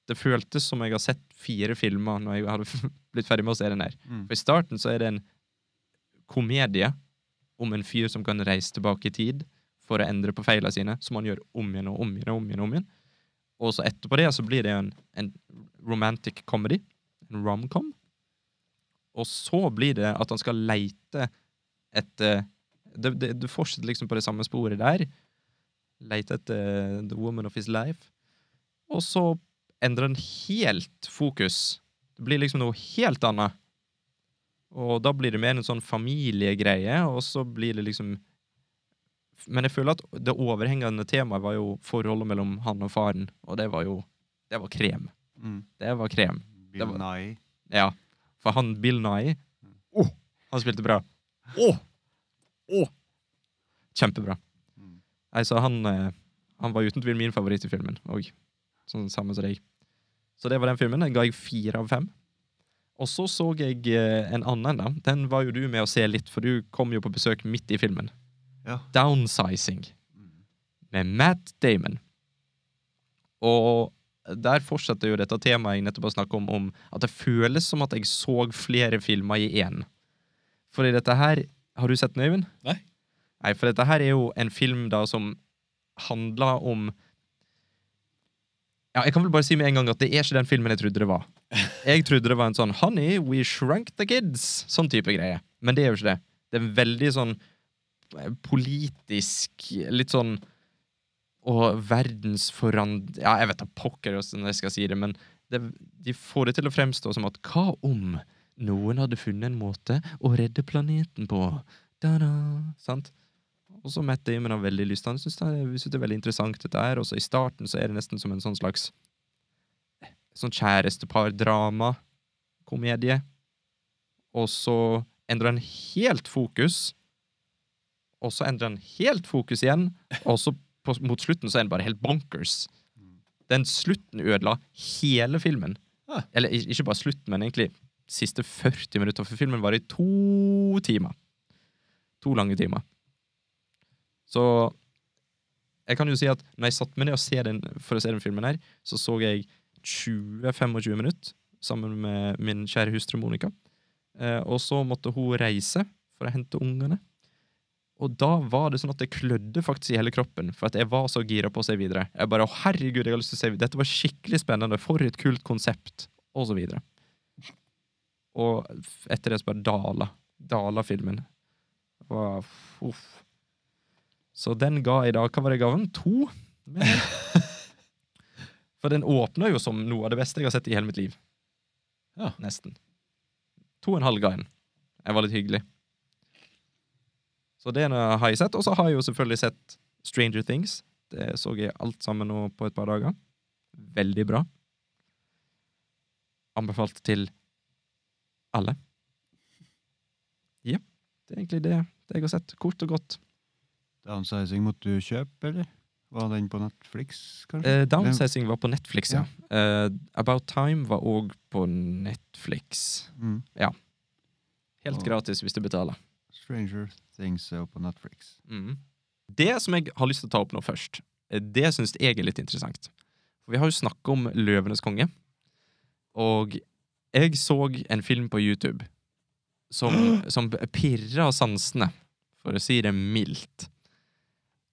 B: Det føltes som jeg har sett fire filmer når jeg hadde (laughs) blitt ferdig med å se den her.
A: Mm.
B: For I starten så er det en komedie om en fyr som kan reise tilbake i tid for å endre på feilene sine, som han gjør om igjen og om igjen og om igjen. Og om igjen. Og så etterpå det så blir det en, en romantic comedy, en romcom. Og så blir det at han skal leite etter det, det, Du fortsetter liksom på det samme sporet der. Leite etter eh, the woman of his life. Og så endrer han helt fokus. Det blir liksom noe helt annet. Og da blir det mer en sånn familiegreie, og så blir det liksom Men jeg føler at det overhengende temaet var jo forholdet mellom han og faren, og det var jo Det var krem.
A: Mm.
B: Det var krem.
A: Bill
B: var-
A: Nye.
B: Ja. For han Bill Nye Åh, Han spilte bra. Åh, åh. Kjempebra.
A: Mm.
B: Nei, så han, eh, han var uten tvil min favoritt i filmen òg. Sånn samme som deg. Så det var den filmen. Den ga jeg fire av fem. Og så så jeg eh, en annen, da. Den var jo du med å se litt, for du kom jo på besøk midt i filmen.
A: Ja.
B: Downsizing
A: Mm.
B: med Matt Damon. Og der fortsetter jo dette temaet jeg nettopp har snakket om, om at det føles som at jeg så flere filmer i én. Fordi dette her Har du sett den, Øyvind?
C: Nei.
B: Nei, for dette her er jo en film da som handler om ja, Jeg kan vel bare si med en gang at det er ikke den filmen jeg trodde det var. Jeg trodde det var en sånn 'Honey, we shrunk the kids', sånn type greie. Men det er jo ikke det. Det er en veldig sånn eh, politisk, litt sånn og verdensforand... Ja, jeg vet da pokker hvordan jeg skal si det, men det, de får det til å fremstå som at hva om noen hadde funnet en måte å redde planeten på? Da-da, sant? Og så Matt Damon har veldig lyst. Han syns det, er- synes det er veldig interessant, dette her. Og så i starten så er det nesten som en sånn slags sånn kjærestepar-drama, komedie. Og så endrer han helt fokus, og så endrer han helt fokus igjen, og så på, mot slutten så er den bare helt bonkers. Den slutten ødela hele filmen.
C: Ah.
B: Eller ik- ikke bare slutten, men egentlig siste 40 minutter, for filmen var i to timer. To lange timer. Så jeg kan jo si at når jeg satte meg ned og se den, for å se den filmen her, så så jeg 20-25 minutter sammen med min kjære hustru Monica. Eh, og så måtte hun reise for å hente ungene. Og da var det sånn at det klødde faktisk i hele kroppen, for at jeg var så gira på å se videre. Jeg bare, å herregud, jeg har lyst til å se videre. Dette var skikkelig spennende, for et kult konsept, og så videre. Og f- etter det så bare dala. Dala filmen. Det var- Uff. Så den ga jeg da, hva var det jeg ga den? To? mener jeg. For den åpner jo som noe av det beste jeg har sett i hele mitt liv.
C: Ja.
B: Nesten. To og en halv ga jeg den. Jeg var litt hyggelig. Så det har jeg sett. Og så har jeg jo selvfølgelig sett Stranger Things. Det så jeg alt sammen nå på et par dager. Veldig bra. Anbefalt til alle. Ja. Det er egentlig det, det jeg har sett. Kort og godt.
A: Downsizing måtte du kjøpe, eller? Var den på Netflix, kanskje?
B: Eh, Downsizing var på Netflix, ja. Eh, About Time var òg på Netflix.
A: Mm.
B: Helt
A: Åh.
B: gratis hvis du betaler.
A: Stranger Things er jo på Netflix.
B: Mm. Det som jeg har lyst til å ta opp nå først, eh, det syns jeg er litt interessant. For vi har jo snakket om Løvenes konge, og jeg så en film på YouTube som, som pirra sansene, for å si det mildt.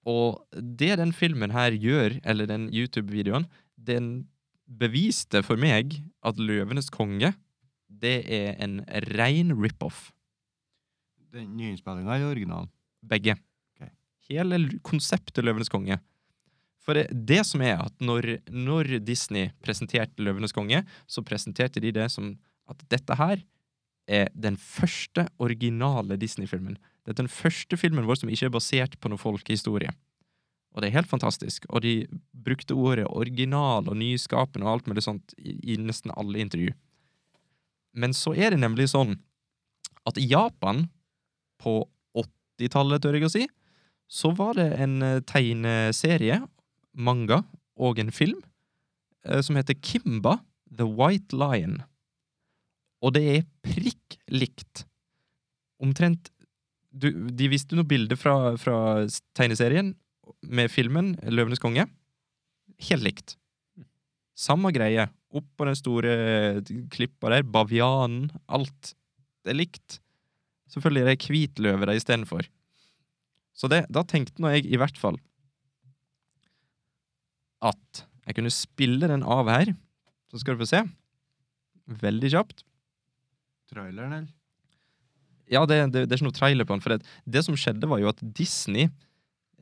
B: Og det den filmen her gjør, eller den YouTube-videoen, den beviste for meg at Løvenes konge, det er en rein rip-off.
A: Den nyinnspillinga eller originalen?
B: Begge.
A: Ok.
B: Hele l- konseptet Løvenes konge. For det, det som er at når, når Disney presenterte Løvenes konge, så presenterte de det som at dette her er den første originale Disney-filmen. Det er den første filmen vår som ikke er basert på noen folkehistorie. Og det er helt fantastisk. Og de brukte ordet original og nyskapende og alt mulig sånt i, i nesten alle intervju. Men så er det nemlig sånn at i Japan på 90-tallet, tør jeg å si, så var det en eh, tegneserie, manga og en film eh, som heter Kimba The White Lion. Og det er prikk likt. Omtrent du, De viste noen bilder fra, fra s- tegneserien med filmen 'Løvenes konge' helt likt. Samme greie. Opp på den store eh, klippa der. Bavianen. Alt. Det er likt. Selvfølgelig er det hvit løve der istedenfor. Så det, da tenkte nå jeg i hvert fall at jeg kunne spille den av her. Så skal du få se. Veldig kjapt.
A: Traileren, eller?
B: Ja, det, det, det er ikke noe trailer på den. For det, det som skjedde, var jo at Disney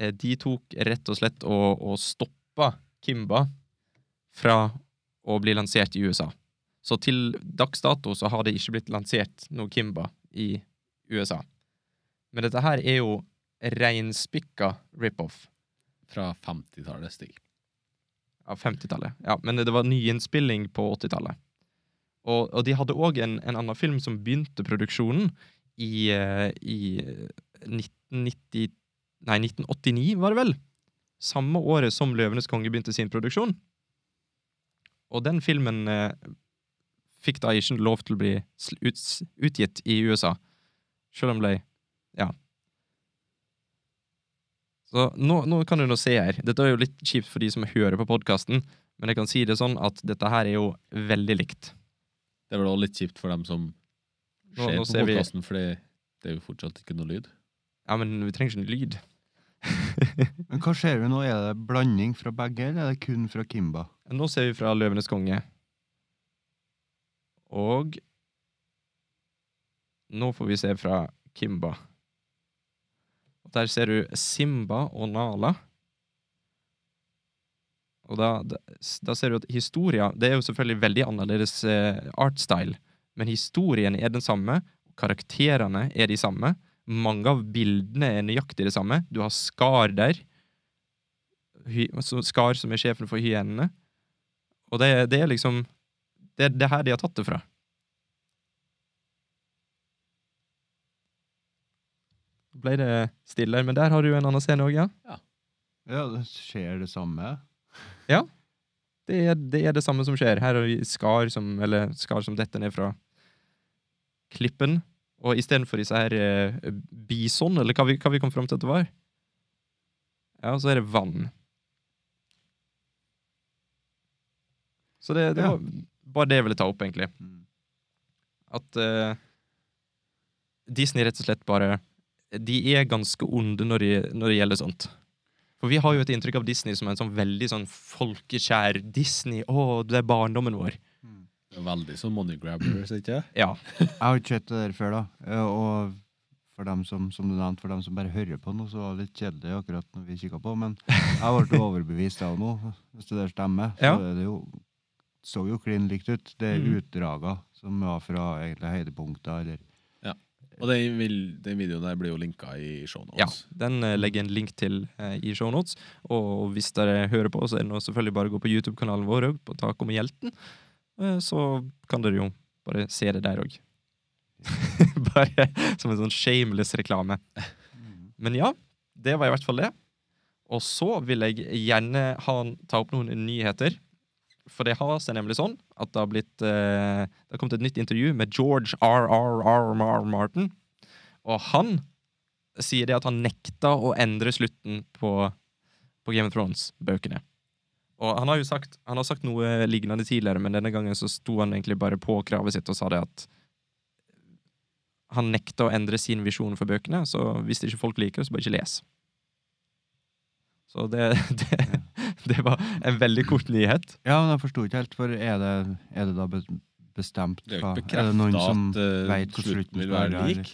B: eh, De tok rett og slett og, og stoppa Kimba fra å bli lansert i USA. Så til dags dato så har det ikke blitt lansert noe Kimba i USA. Men dette her er jo reinspikka rip-off
C: Fra 50-tallet stikk.
B: av 50-tallet. Ja, men det var nyinnspilling på 80-tallet. Og, og de hadde òg en, en annen film som begynte produksjonen i, eh, i 1990, nei, 1989, var det vel? Samme året som 'Løvenes konge' begynte sin produksjon. Og den filmen eh, fikk da ikke lov til å bli sl- uts- utgitt i USA, selv om det Ja. Så nå, nå kan du nå se her. Dette er jo litt kjipt for de som hører på podkasten, men jeg kan si det sånn at dette her er jo veldig likt.
C: Det er vel også litt kjipt for dem som
B: Nå-
C: ser
B: nå
C: på
B: ser vi-
C: podkasten, fordi det er jo fortsatt ikke noe lyd.
B: Ja, men vi trenger ikke en lyd.
A: Men hva ser vi nå? Er det blanding fra begge, eller er det kun fra Kimba?
B: Nå ser vi fra Løvenes konge. Og Nå får vi se fra Kimba. Og Der ser du Simba og Nala. Og da, da, da ser du at historia Det er jo selvfølgelig veldig annerledes eh, artstyle, men historien er den samme. Karakterene er de samme. Mange av bildene er nøyaktig det samme. Du har Skar der. Hy, så skar som er sjefen for hyenene. Og det, det er liksom det, det er her de har tatt det fra. Ble det stille, men der har du en annen scene òg, ja.
A: Ja, det skjer det samme.
B: Det er, det er det samme som skjer. Her har vi skar som, eller skar som detter ned fra klippen. Og istedenfor disse her eh, bison, eller hva vi, hva vi kom fram til at det var, ja, så er det vann. Så det, det
A: Ja.
B: var bare det jeg ville ta opp, egentlig.
A: Mm.
B: at eh, Disney rett og slett bare De er ganske onde når det, når det gjelder sånt. For vi har jo et inntrykk av Disney som en sånn veldig sånn folkekjær Disney. Å, det er barndommen vår.
C: Det er veldig sånn money (clears throat) grabbers, ikke
B: Ja.
A: Jeg har ikke sett det der før, da. Eh, Og for dem som, som du nevnte, for dem som bare hører på nå, så var det litt kjedelig akkurat når vi kikka på, men jeg ble overbevist av noe. Hvis det der stemmer, så
B: Ja.
A: er det jo så jo klin likt ut. Det er
B: Mm.
A: utdraga som var fra egentlig høydepunkter, eller
C: Og den, vil, den videoen der blir jo linka i showen
B: ja. Den eh, legger jeg en link til eh, i shownotes. Og hvis dere hører på, så er det nå selvfølgelig bare å gå på YouTube-kanalen vår og på Taco med hjelten. Eh, så kan dere jo bare se det der òg. (laughs) bare som en sånn shameless reklame. Men ja, det var i hvert fall det. Og så vil jeg gjerne ha, ta opp noen nyheter. For det har seg nemlig sånn at det har blitt eh, Det har kommet et nytt intervju med George RRR Martin. Og han sier det at han nekta å endre slutten på, på Game of Thrones-bøkene. Og han har jo sagt, han har sagt noe lignende tidligere, men denne gangen så sto han egentlig bare på kravet sitt og sa det at han nekta å endre sin visjon for bøkene, så hvis ikke folk liker det, så bare ikke les. Så det, (laughs) det, det var en veldig kort nyhet.
A: Ja, men jeg forsto ikke helt, for er det, er det da be- bestemt
C: Det er jo
A: hva-
C: ikke
A: Er det
C: bekrefta
A: noen som
C: at eh,
A: vet hvor slutten
C: slutten vil
A: skal
C: være
A: være,
C: lik.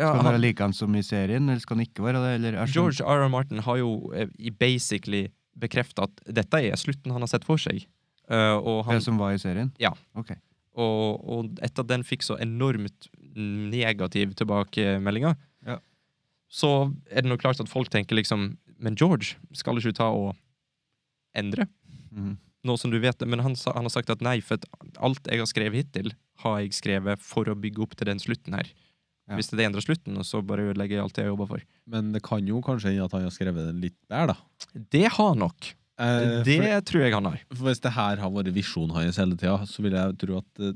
A: skal
B: han-
A: være likeens som i serien, eller skal den ikke være det? sånn Eller, jeg skjønner-
B: George R. R. Martin har jo eh, i basically bekrefta at dette er slutten han har sett for seg. Eh, og, han,
A: Det som var i serien?
B: Ja.
A: Ok.
B: og, og etter at den fikk så enormt negativ tilbakemeldinger,
A: Ja.
B: så er det nok klart at folk tenker liksom Men George, skal ikke du ta og endre?
A: Mhm.
B: Nå som du vet det, Men han, sa, han har sagt at nei, for at alt jeg har skrevet hittil, har jeg skrevet for å bygge opp til den slutten her.
A: Ja.
B: Hvis det endrer slutten, og så bare ødelegger jeg alt det jeg jobber for.
C: Men det kan jo kanskje hende at han har skrevet den litt bedre, da.
B: Det har nok.
C: Eh,
B: Det tror jeg han har.
C: For hvis det her har vært visjonen hans hele tida, så vil jeg tro at eh,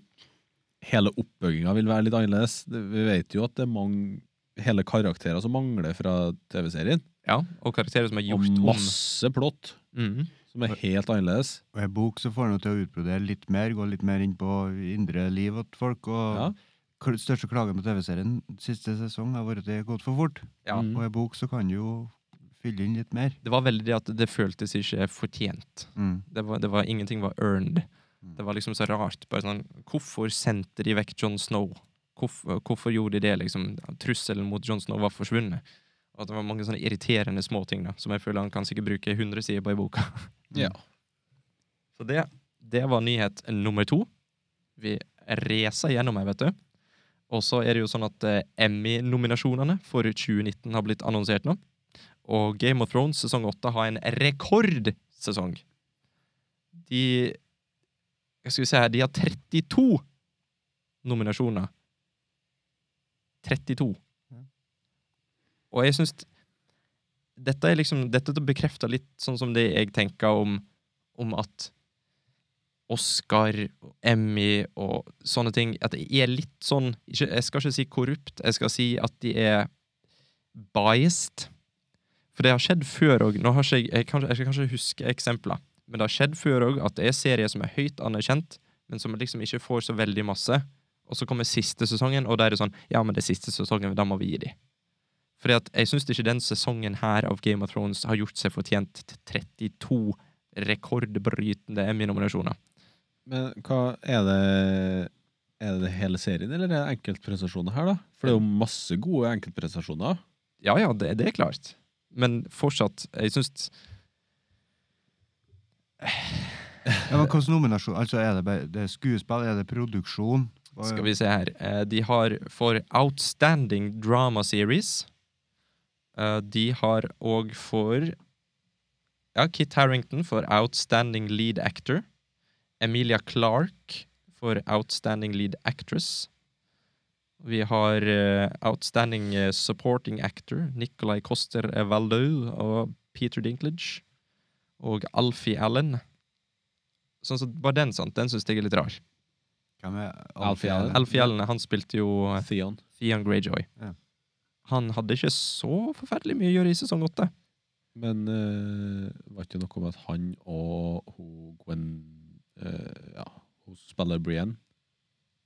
C: hele oppbygginga vil være litt annerledes. Det- Vi vet jo at det er mange hele karakterer som mangler fra TV-serien.
B: Ja, og karakterer som er
C: Og
B: gjort om.
C: masse plott
B: Mhm.
C: som er helt annerledes.
A: Og i bok så får han jo til å utbrodere litt mer, gå litt mer inn på indre liv åt folk. og...
C: Ja.
A: kl- Største klagen på TV-serien siste sesong har vært at det har gått for fort.
B: Ja.
C: Mm.
A: Og i bok så kan du jo fylle inn litt mer.
B: Det var veldig det at det føltes ikke fortjent.
A: Mm.
B: Det var, det var, ingenting var earned. Det var liksom så rart. Bare sånn, hvorfor sendte de vekk John Snow? Hvorfor, hvorfor gjorde de det? liksom? Trusselen mot John Snow var forsvunnet. Og at det var mange sånne irriterende småting da, som jeg føler han kan sikkert bruke 100 sider på i boka.
C: Ja.
B: Så det, det var nyhet nummer to. Vi racer gjennom her, vet du. Og så er det jo sånn at eh, Emmy-nominasjonene for 2019 har blitt annonsert nå. Og Game of Thrones sesong 8 har en rekordsesong. De jeg skal vi se her, de har 32 nominasjoner. 32.
A: Ja.
B: Og jeg syns dette er liksom, dette bekrefter litt sånn som det jeg tenker om om at Oscar, og Emmy og sånne ting At de er litt sånn ikke, Jeg skal ikke si korrupt, jeg skal si at de er biased. For det har skjedd før òg. Jeg, jeg, jeg, kan- jeg skal kanskje huske eksempler, men det har skjedd før òg at det er serier som er høyt anerkjent, men som liksom ikke får så veldig masse. Og så kommer siste sesongen, og da er det sånn Ja, men det er siste sesongen, da må vi gi de. Fordi at jeg syns ikke den sesongen her av Game of Thrones har gjort seg fortjent til 32 rekordbrytende Emmy-nominasjoner.
C: Men hva er det Er det hele serien, eller er det enkeltprestasjoner her, da? For det er jo masse gode enkeltprestasjoner.
B: Ja ja, det, det er klart. Men fortsatt, jeg syns
A: Ja, men Hvilken nominasjon? Altså, er det, bare, det er skuespill? Er det produksjon? Og-
B: Skal vi se her. Eh, De har for Outstanding Drama Series. eh, De har òg for Ja, Kit Harrington for Outstanding Lead Actor. Emilia Clarke for Outstanding Lead Actress. Vi har eh, Outstanding eh, Supporting Actor Nicolai Coster Valdau og Peter Dinklage. Og Alfie Allen. Sånn så, bare den, sant? Den syns jeg er litt rar.
A: Hvem er
C: Alfie Allen?
A: Mm.
B: Alfie Allen, han spilte jo eh,
C: Theon.
B: Theon Greyjoy.
A: Ja.
B: Han hadde ikke så forferdelig mye å gjøre i sesong åtte.
C: Men uh, var ikke noe om at han og hun Gwen eh, Ja, hun spiller Brienne.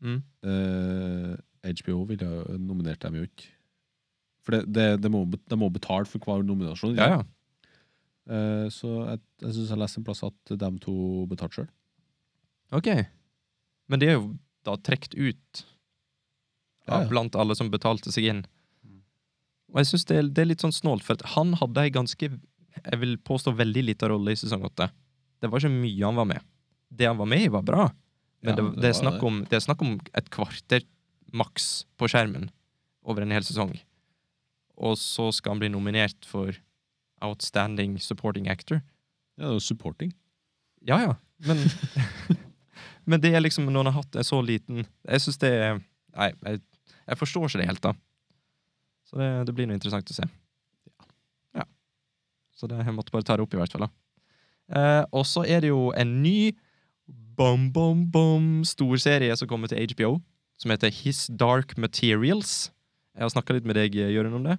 B: Mm.
C: Eh, HBO ville jo- nominerte dem jo ikke. For det, det, det må, bet- de må betale for hver nominasjon. ikke
B: Ja, ja.
C: Eh, så jeg, jeg syns jeg leste en plass at de to betalte sjøl.
B: Ok. Men de er jo da trukket ut
C: Ja,
B: av
C: ja.
B: blant alle som betalte seg inn. Og jeg syns det, er- det er litt sånn snålt, for at han hadde ei ganske Jeg vil påstå veldig lita rolle i sesong åtte. Det var ikke mye han var med. Det han var med i, var bra, men
C: Ja,
B: det,
C: det
B: det, er
C: var
B: snakk
C: det.
B: om, det er snakk om et kvarter maks på skjermen over en hel sesong. Og så skal han bli nominert for Outstanding Supporting Actor.
C: Ja, det er jo supporting.
B: Ja, ja. Men, (laughs) men det er liksom når han har hatt en så liten Jeg syns det er Nei, jeg, jeg forstår ikke det helt, da. Så det, det blir noe interessant å se. Ja. Så det, jeg måtte bare ta det opp, i hvert fall. da. Eh, og så er det jo en ny bom, bom, bom stor serie som kommer til HBO, som heter His Dark Materials. Jeg har snakka litt med deg, Jørund, om det.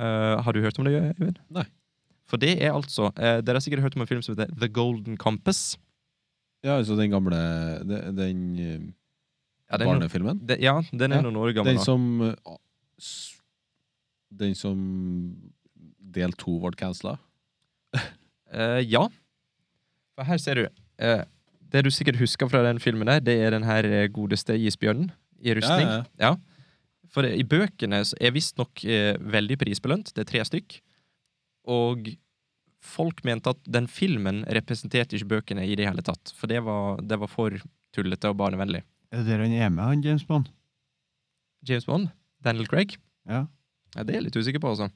B: Eh, har du hørt om det, Øyvind?
C: Nei.
B: For det er altså eh, Dere har sikkert hørt om en film som heter The Golden Compass.
C: Ja, altså den gamle de- Den, eh,
B: Ja, den, er no-
C: barnefilmen.
B: de, ja, den er
C: Ja,
B: noen år gammel
C: Den
B: nå.
C: som eh, s- Den som del to ble cancela.
B: Eh, ja. For her ser du. eh, det du sikkert husker fra den filmen, der, det er den her eh, godeste isbjørnen i rustning.
C: Ja,
B: Ja. For i bøkene så er visstnok eh, veldig prisbelønt. Det er tre stykk. Og folk mente at den filmen representerte ikke bøkene i det hele tatt. For det var, det var for tullete og barnevennlig.
A: Er det der han er med, han James Bond?
B: James Bond, Daniel Craig, (laughs)
A: Ja.
B: ja, det er jeg litt usikker på, altså.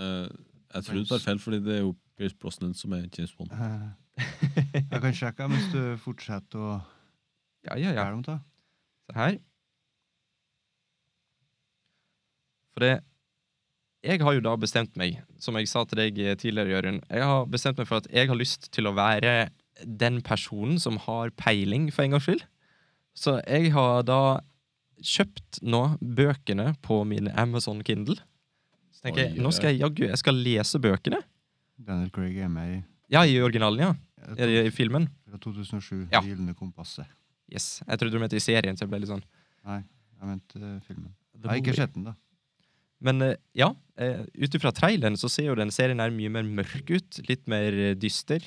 C: Eh, jeg tror du tar feil, fordi det er jo Pierce Brosnan som er James Bond.
A: Eh, Jeg kan sjekke mens du fortsetter å
B: Ja, ja, ja.
A: gjøre om det.
B: Se her. For det Jeg har jo da bestemt meg, som jeg sa til deg tidligere, Jørund Jeg har bestemt meg for at jeg har lyst til å være den personen som har peiling, for en gangs skyld. Så jeg har da kjøpt nå bøkene på min Amazon Kindle. Så tenker jeg,
C: Oi,
B: nå skal jeg jaggu jeg skal lese bøkene.
A: Daniel Craig er med i,
B: Ja, i originalen, ja. I, i filmen.
A: fra 2007,
B: Ja.
A: Det gylne kompasset.
B: Yes. Jeg trodde du mente i serien, så jeg ble litt sånn
A: Jeg mente eh, filmen. Jeg har ikke sett den, da.
B: Men eh, ja, eh, ut ifra traileren så ser jo den serien her mye mer mørk ut. Litt mer eh, dyster.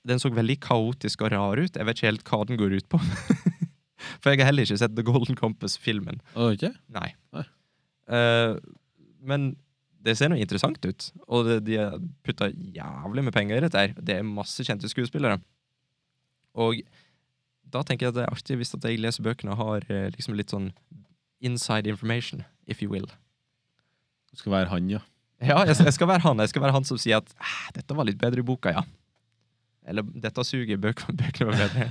B: Den så veldig kaotisk og rar ut. Jeg vet ikke helt hva den går ut på. (laughs) For jeg har heller ikke sett The Golden Compass-filmen.
C: Har du ikke?
B: Nei.
C: Nei.
B: Eh, men det ser noe interessant ut. Og det, de har putta jævlig med penger i dette. her. Det er masse kjente skuespillere. Og da tenker jeg at det er artig hvis at jeg leser bøkene og har eh, liksom litt sånn inside information, if you will.
C: Du skal være han, ja.
B: Ja, jeg, jeg skal være han Jeg skal være han som sier at «Ah, dette var litt bedre i boka, ja. Eller dette suger, bøk, bøkene var bedre.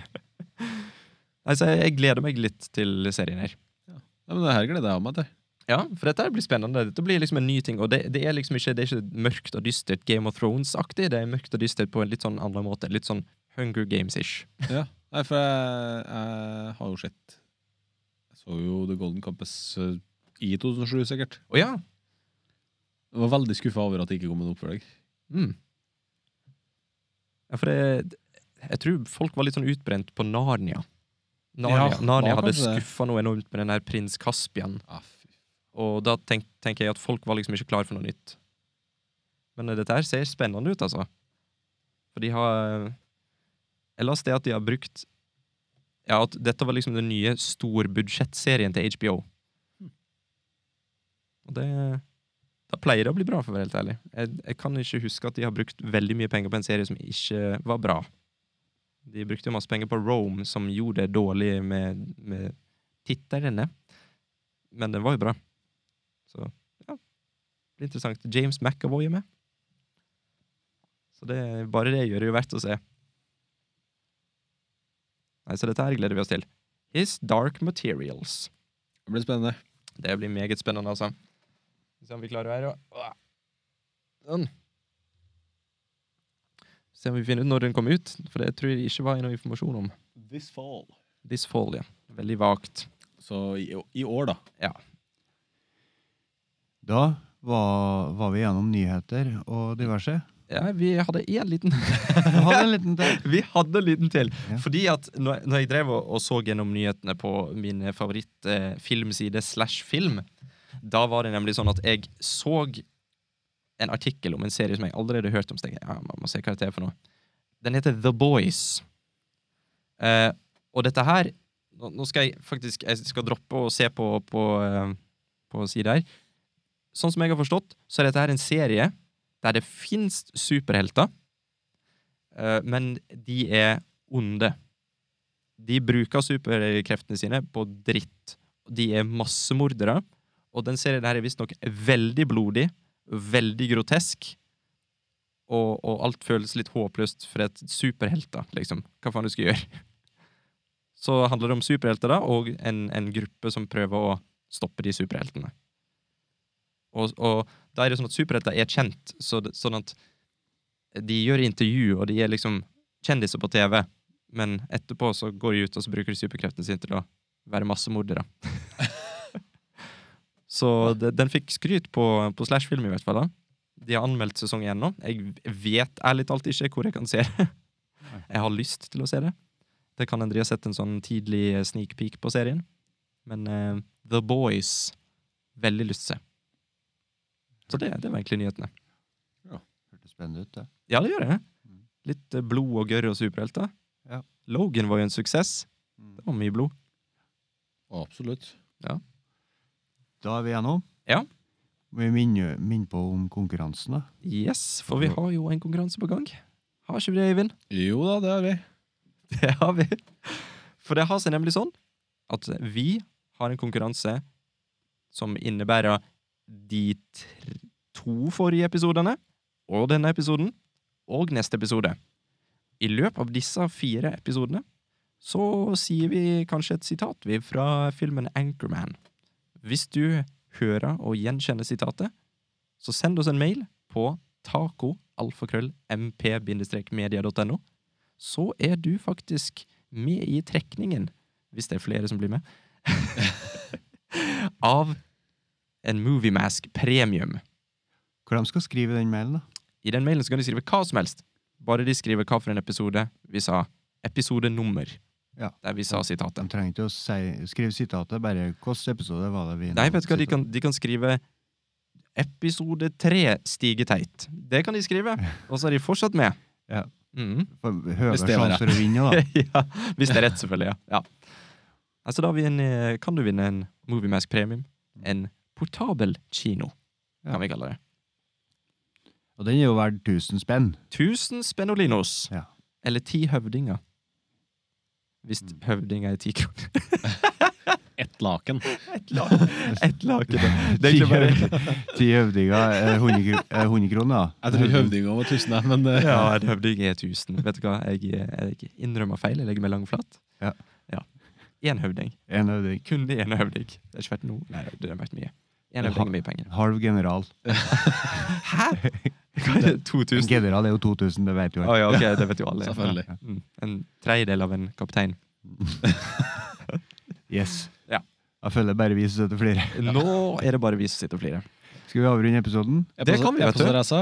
B: (laughs) altså, jeg, jeg gleder meg litt til serien her.
C: Nei, men Det her gleder jeg meg til.
B: Ja, for dette her blir spennende. Dette blir liksom en ny ting. Og det, det er liksom ikke, det er ikke mørkt og dystert Game of Thrones-aktig. Det er mørkt og dystert på en litt sånn annen måte. Litt sånn Hunger Games-ish.
C: Ja. Nei, for jeg, jeg har jo sett Jeg så jo The Golden Compass eh, i 2007, sikkert.
B: Å ja.
C: Jeg var veldig skuffa over at det ikke kom en oppfølger.
B: Mm. Ja, for det, jeg tror folk var litt sånn utbrent på Narnia. Narnia,
C: Ja,
B: Narnia
C: var
B: hadde
C: kanskje det.
B: skuffa noe enormt med den her prins Caspian.
C: Ah, fy.
B: Og da tenk, tenker jeg at folk var liksom ikke klar for noe nytt. Men eh, dette her ser spennende ut, altså. For de har Ellers det at de har brukt Ja, at dette var liksom den nye storbudsjettserien til HBO. Og det Da pleier det å bli bra, for å være helt ærlig. Jeg, jeg kan ikke huske at de har brukt veldig mye penger på en serie som ikke var bra. De brukte jo masse penger på Rome, som gjorde det dårlig med, med titterne. Men den var jo bra. Så ja, det blir interessant. James McAvoy er med. Så det, bare det gjør det jo verdt å se. Nei, Så dette her gleder vi oss til. His Dark Materials.
C: Det blir spennende.
B: Det blir meget spennende, altså. Skal vi Se om vi klarer å være og- Sånn. Se om vi finner ut når den kommer ut, for det tror jeg ikke var noe informasjon om.
C: This fall.
B: This fall, ja. Veldig vagt.
C: Så i, i år, da.
A: Da var, var vi gjennom nyheter og diverse.
B: Ja, vi hadde én liten
A: Jeg hadde en liten til.
B: Vi hadde en liten til.
A: Ja.
B: Fordi at når, når jeg drev og, og så gjennom nyhetene på min favorittfilmside eh, filmside slash film, da var det nemlig sånn at jeg så en artikkel om en serie som jeg allerede har hørt om. Så tenkte jeg, ja, man må se hva det er for noe. Den heter The Boys. Eh, og dette her nå, nå skal jeg faktisk jeg skal droppe å se på, på, eh, på sida her. Sånn som jeg har forstått, så er dette her en serie der det fins superhelter. Eh, men de er onde. De bruker superkreftene sine på dritt. De er massemordere. Og den serien her er visstnok veldig blodig, veldig grotesk. Og, og alt føles litt håpløst for et superhelter, liksom. Hva faen du skal gjøre? (laughs) Så handler det om superhelter, da, og en, en gruppe som prøver å stoppe de superheltene. Og, og da er det sånn at superhelter er kjent, så det, sånn at de gjør intervju, og de er liksom kjendiser på TV, men etterpå så går de ut og så bruker de superkreftene sine til å være massemordere. (laughs) så de, den fikk skryt på, på Slash-film i hvert fall. da. De har anmeldt sesong én nå. Jeg vet ærlig talt ikke hvor jeg kan se det. Jeg har lyst til å se det. Det kan hende de har sett en sånn tidlig eh, sneak peek på serien. Men eh, The Boys Veldig lyst til å se. Så det, det var egentlig nyhetene.
A: Hørtes spennende ut, det.
B: Ja, det gjør det.
A: Mm.
B: Litt eh, blod og gørr og superhelter.
A: Ja.
B: Logan var jo en suksess. Det var mye blod.
C: Absolutt.
A: Da er vi gjennom.
B: Ja.
A: Må vi minne, minne på om konkurransen, da?
B: Yes, for vi har jo en konkurranse på gang. Har ikke vi det, Eivind?
C: Jo da, det har vi.
B: (laughs) Det har vi. For det har seg nemlig sånn at vi har en konkurranse som innebærer de tre, to forrige episodene og denne episoden og neste episode. I løpet av disse fire episodene så sier vi kanskje et sitat vi fra filmen Anchorman. Hvis du hører og gjenkjenner sitatet, så send oss en mail på taco-mp-media.no så er du faktisk med i trekningen, hvis det er flere som blir med, (laughs) av en Moviemask Premium.
A: Hvor de skal skrive den mailen, da?
B: I den mailen så kan de skrive hva som helst. Bare de skriver hva for en episode vi sa. Episodenummer.
A: Ja.
B: Der vi sa
A: De
B: sitatet.
A: trenger ikke å si, skrive sitatet, bare hvilken episode var det vi
B: Nei, vet du hva, de kan, de kan skrive Episode tre Stige Teit. Det kan
A: (laughs)
B: de skrive, og så er de fortsatt med.
A: Ja.
B: Mhm.
A: Høyere
C: Hvis det var
A: sjanse for å vinne,
B: (laughs)
A: da.
B: ja, hvis det er rett, selvfølgelig. Ja. ja. Altså, da har vi en, eh, kan du vinne en Moviemask Premium. En portabel kino,
A: Ja.
B: kan vi kalle det.
A: Og den er jo verdt 1000 spenn.
B: 1000 spenolinos.
A: Ja.
B: Eller ti høvdinger. Hvis
A: Mm.
B: høvdinger er ti kroner.
C: Ett laken.
B: Et laken. (laughs) Et laken. Det er
A: Ti
B: egentlig bare
A: høvd- (laughs) Ti høvdinger er 100 kro- er 100 kroner.
C: Jeg tror høvdinga var tusen, jeg, men eh,
B: Ja, en høvding er 1000. Vet du hva, jeg, eh, jeg innrømmer feil. Jeg legger meg langflat.
A: Ja.
B: ja. Én høvding.
A: En høvding.
B: Kun én høvding. Det har ikke vært noe. Nei, det har vært mye.
A: Det har-
B: Én høvding er mye penger.
A: Halv general.
B: Hæ?! (laughs) Hva er det?
A: En
B: 2000?
A: general er jo 2000, det vet jo
B: Å
A: jeg.
B: ja, ok, det vet jo (laughs) alle.
C: Selvfølgelig.
B: Ja. Mm. En tredjedel av en kaptein.
A: Yes.
B: Ja.
A: Jeg føler bare vi som støtter flere.
B: Nå er det bare vi som sitter og flirer.
A: Skal vi avrunde episoden?
B: Det kan vi, vet du.
C: Epostadressa.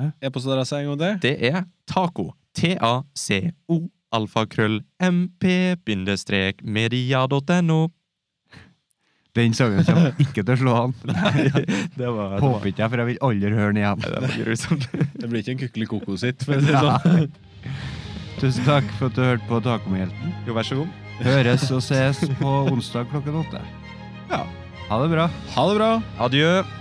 A: Hæ?
C: Epostadressa en gang til.
B: Det er taco. T-a-c-o. Alfakrøll mp-media.no. (laughs)
A: Den sangen (laughs) kommer ikke til å slå an.
B: Det var, det var,
A: Håper ikke jeg, for jeg vil aldri høre den igjen.
B: det var grusomt.
C: Det blir ikke en kukkeli sitt for å si det sånn.
A: Tusen takk for at du hørte på Tacomelten.
B: Jo, vær så god.
A: Høres og ses på onsdag klokken åtte.
B: Ja.
A: Ha det bra.
C: Ha det bra!
B: Adjø.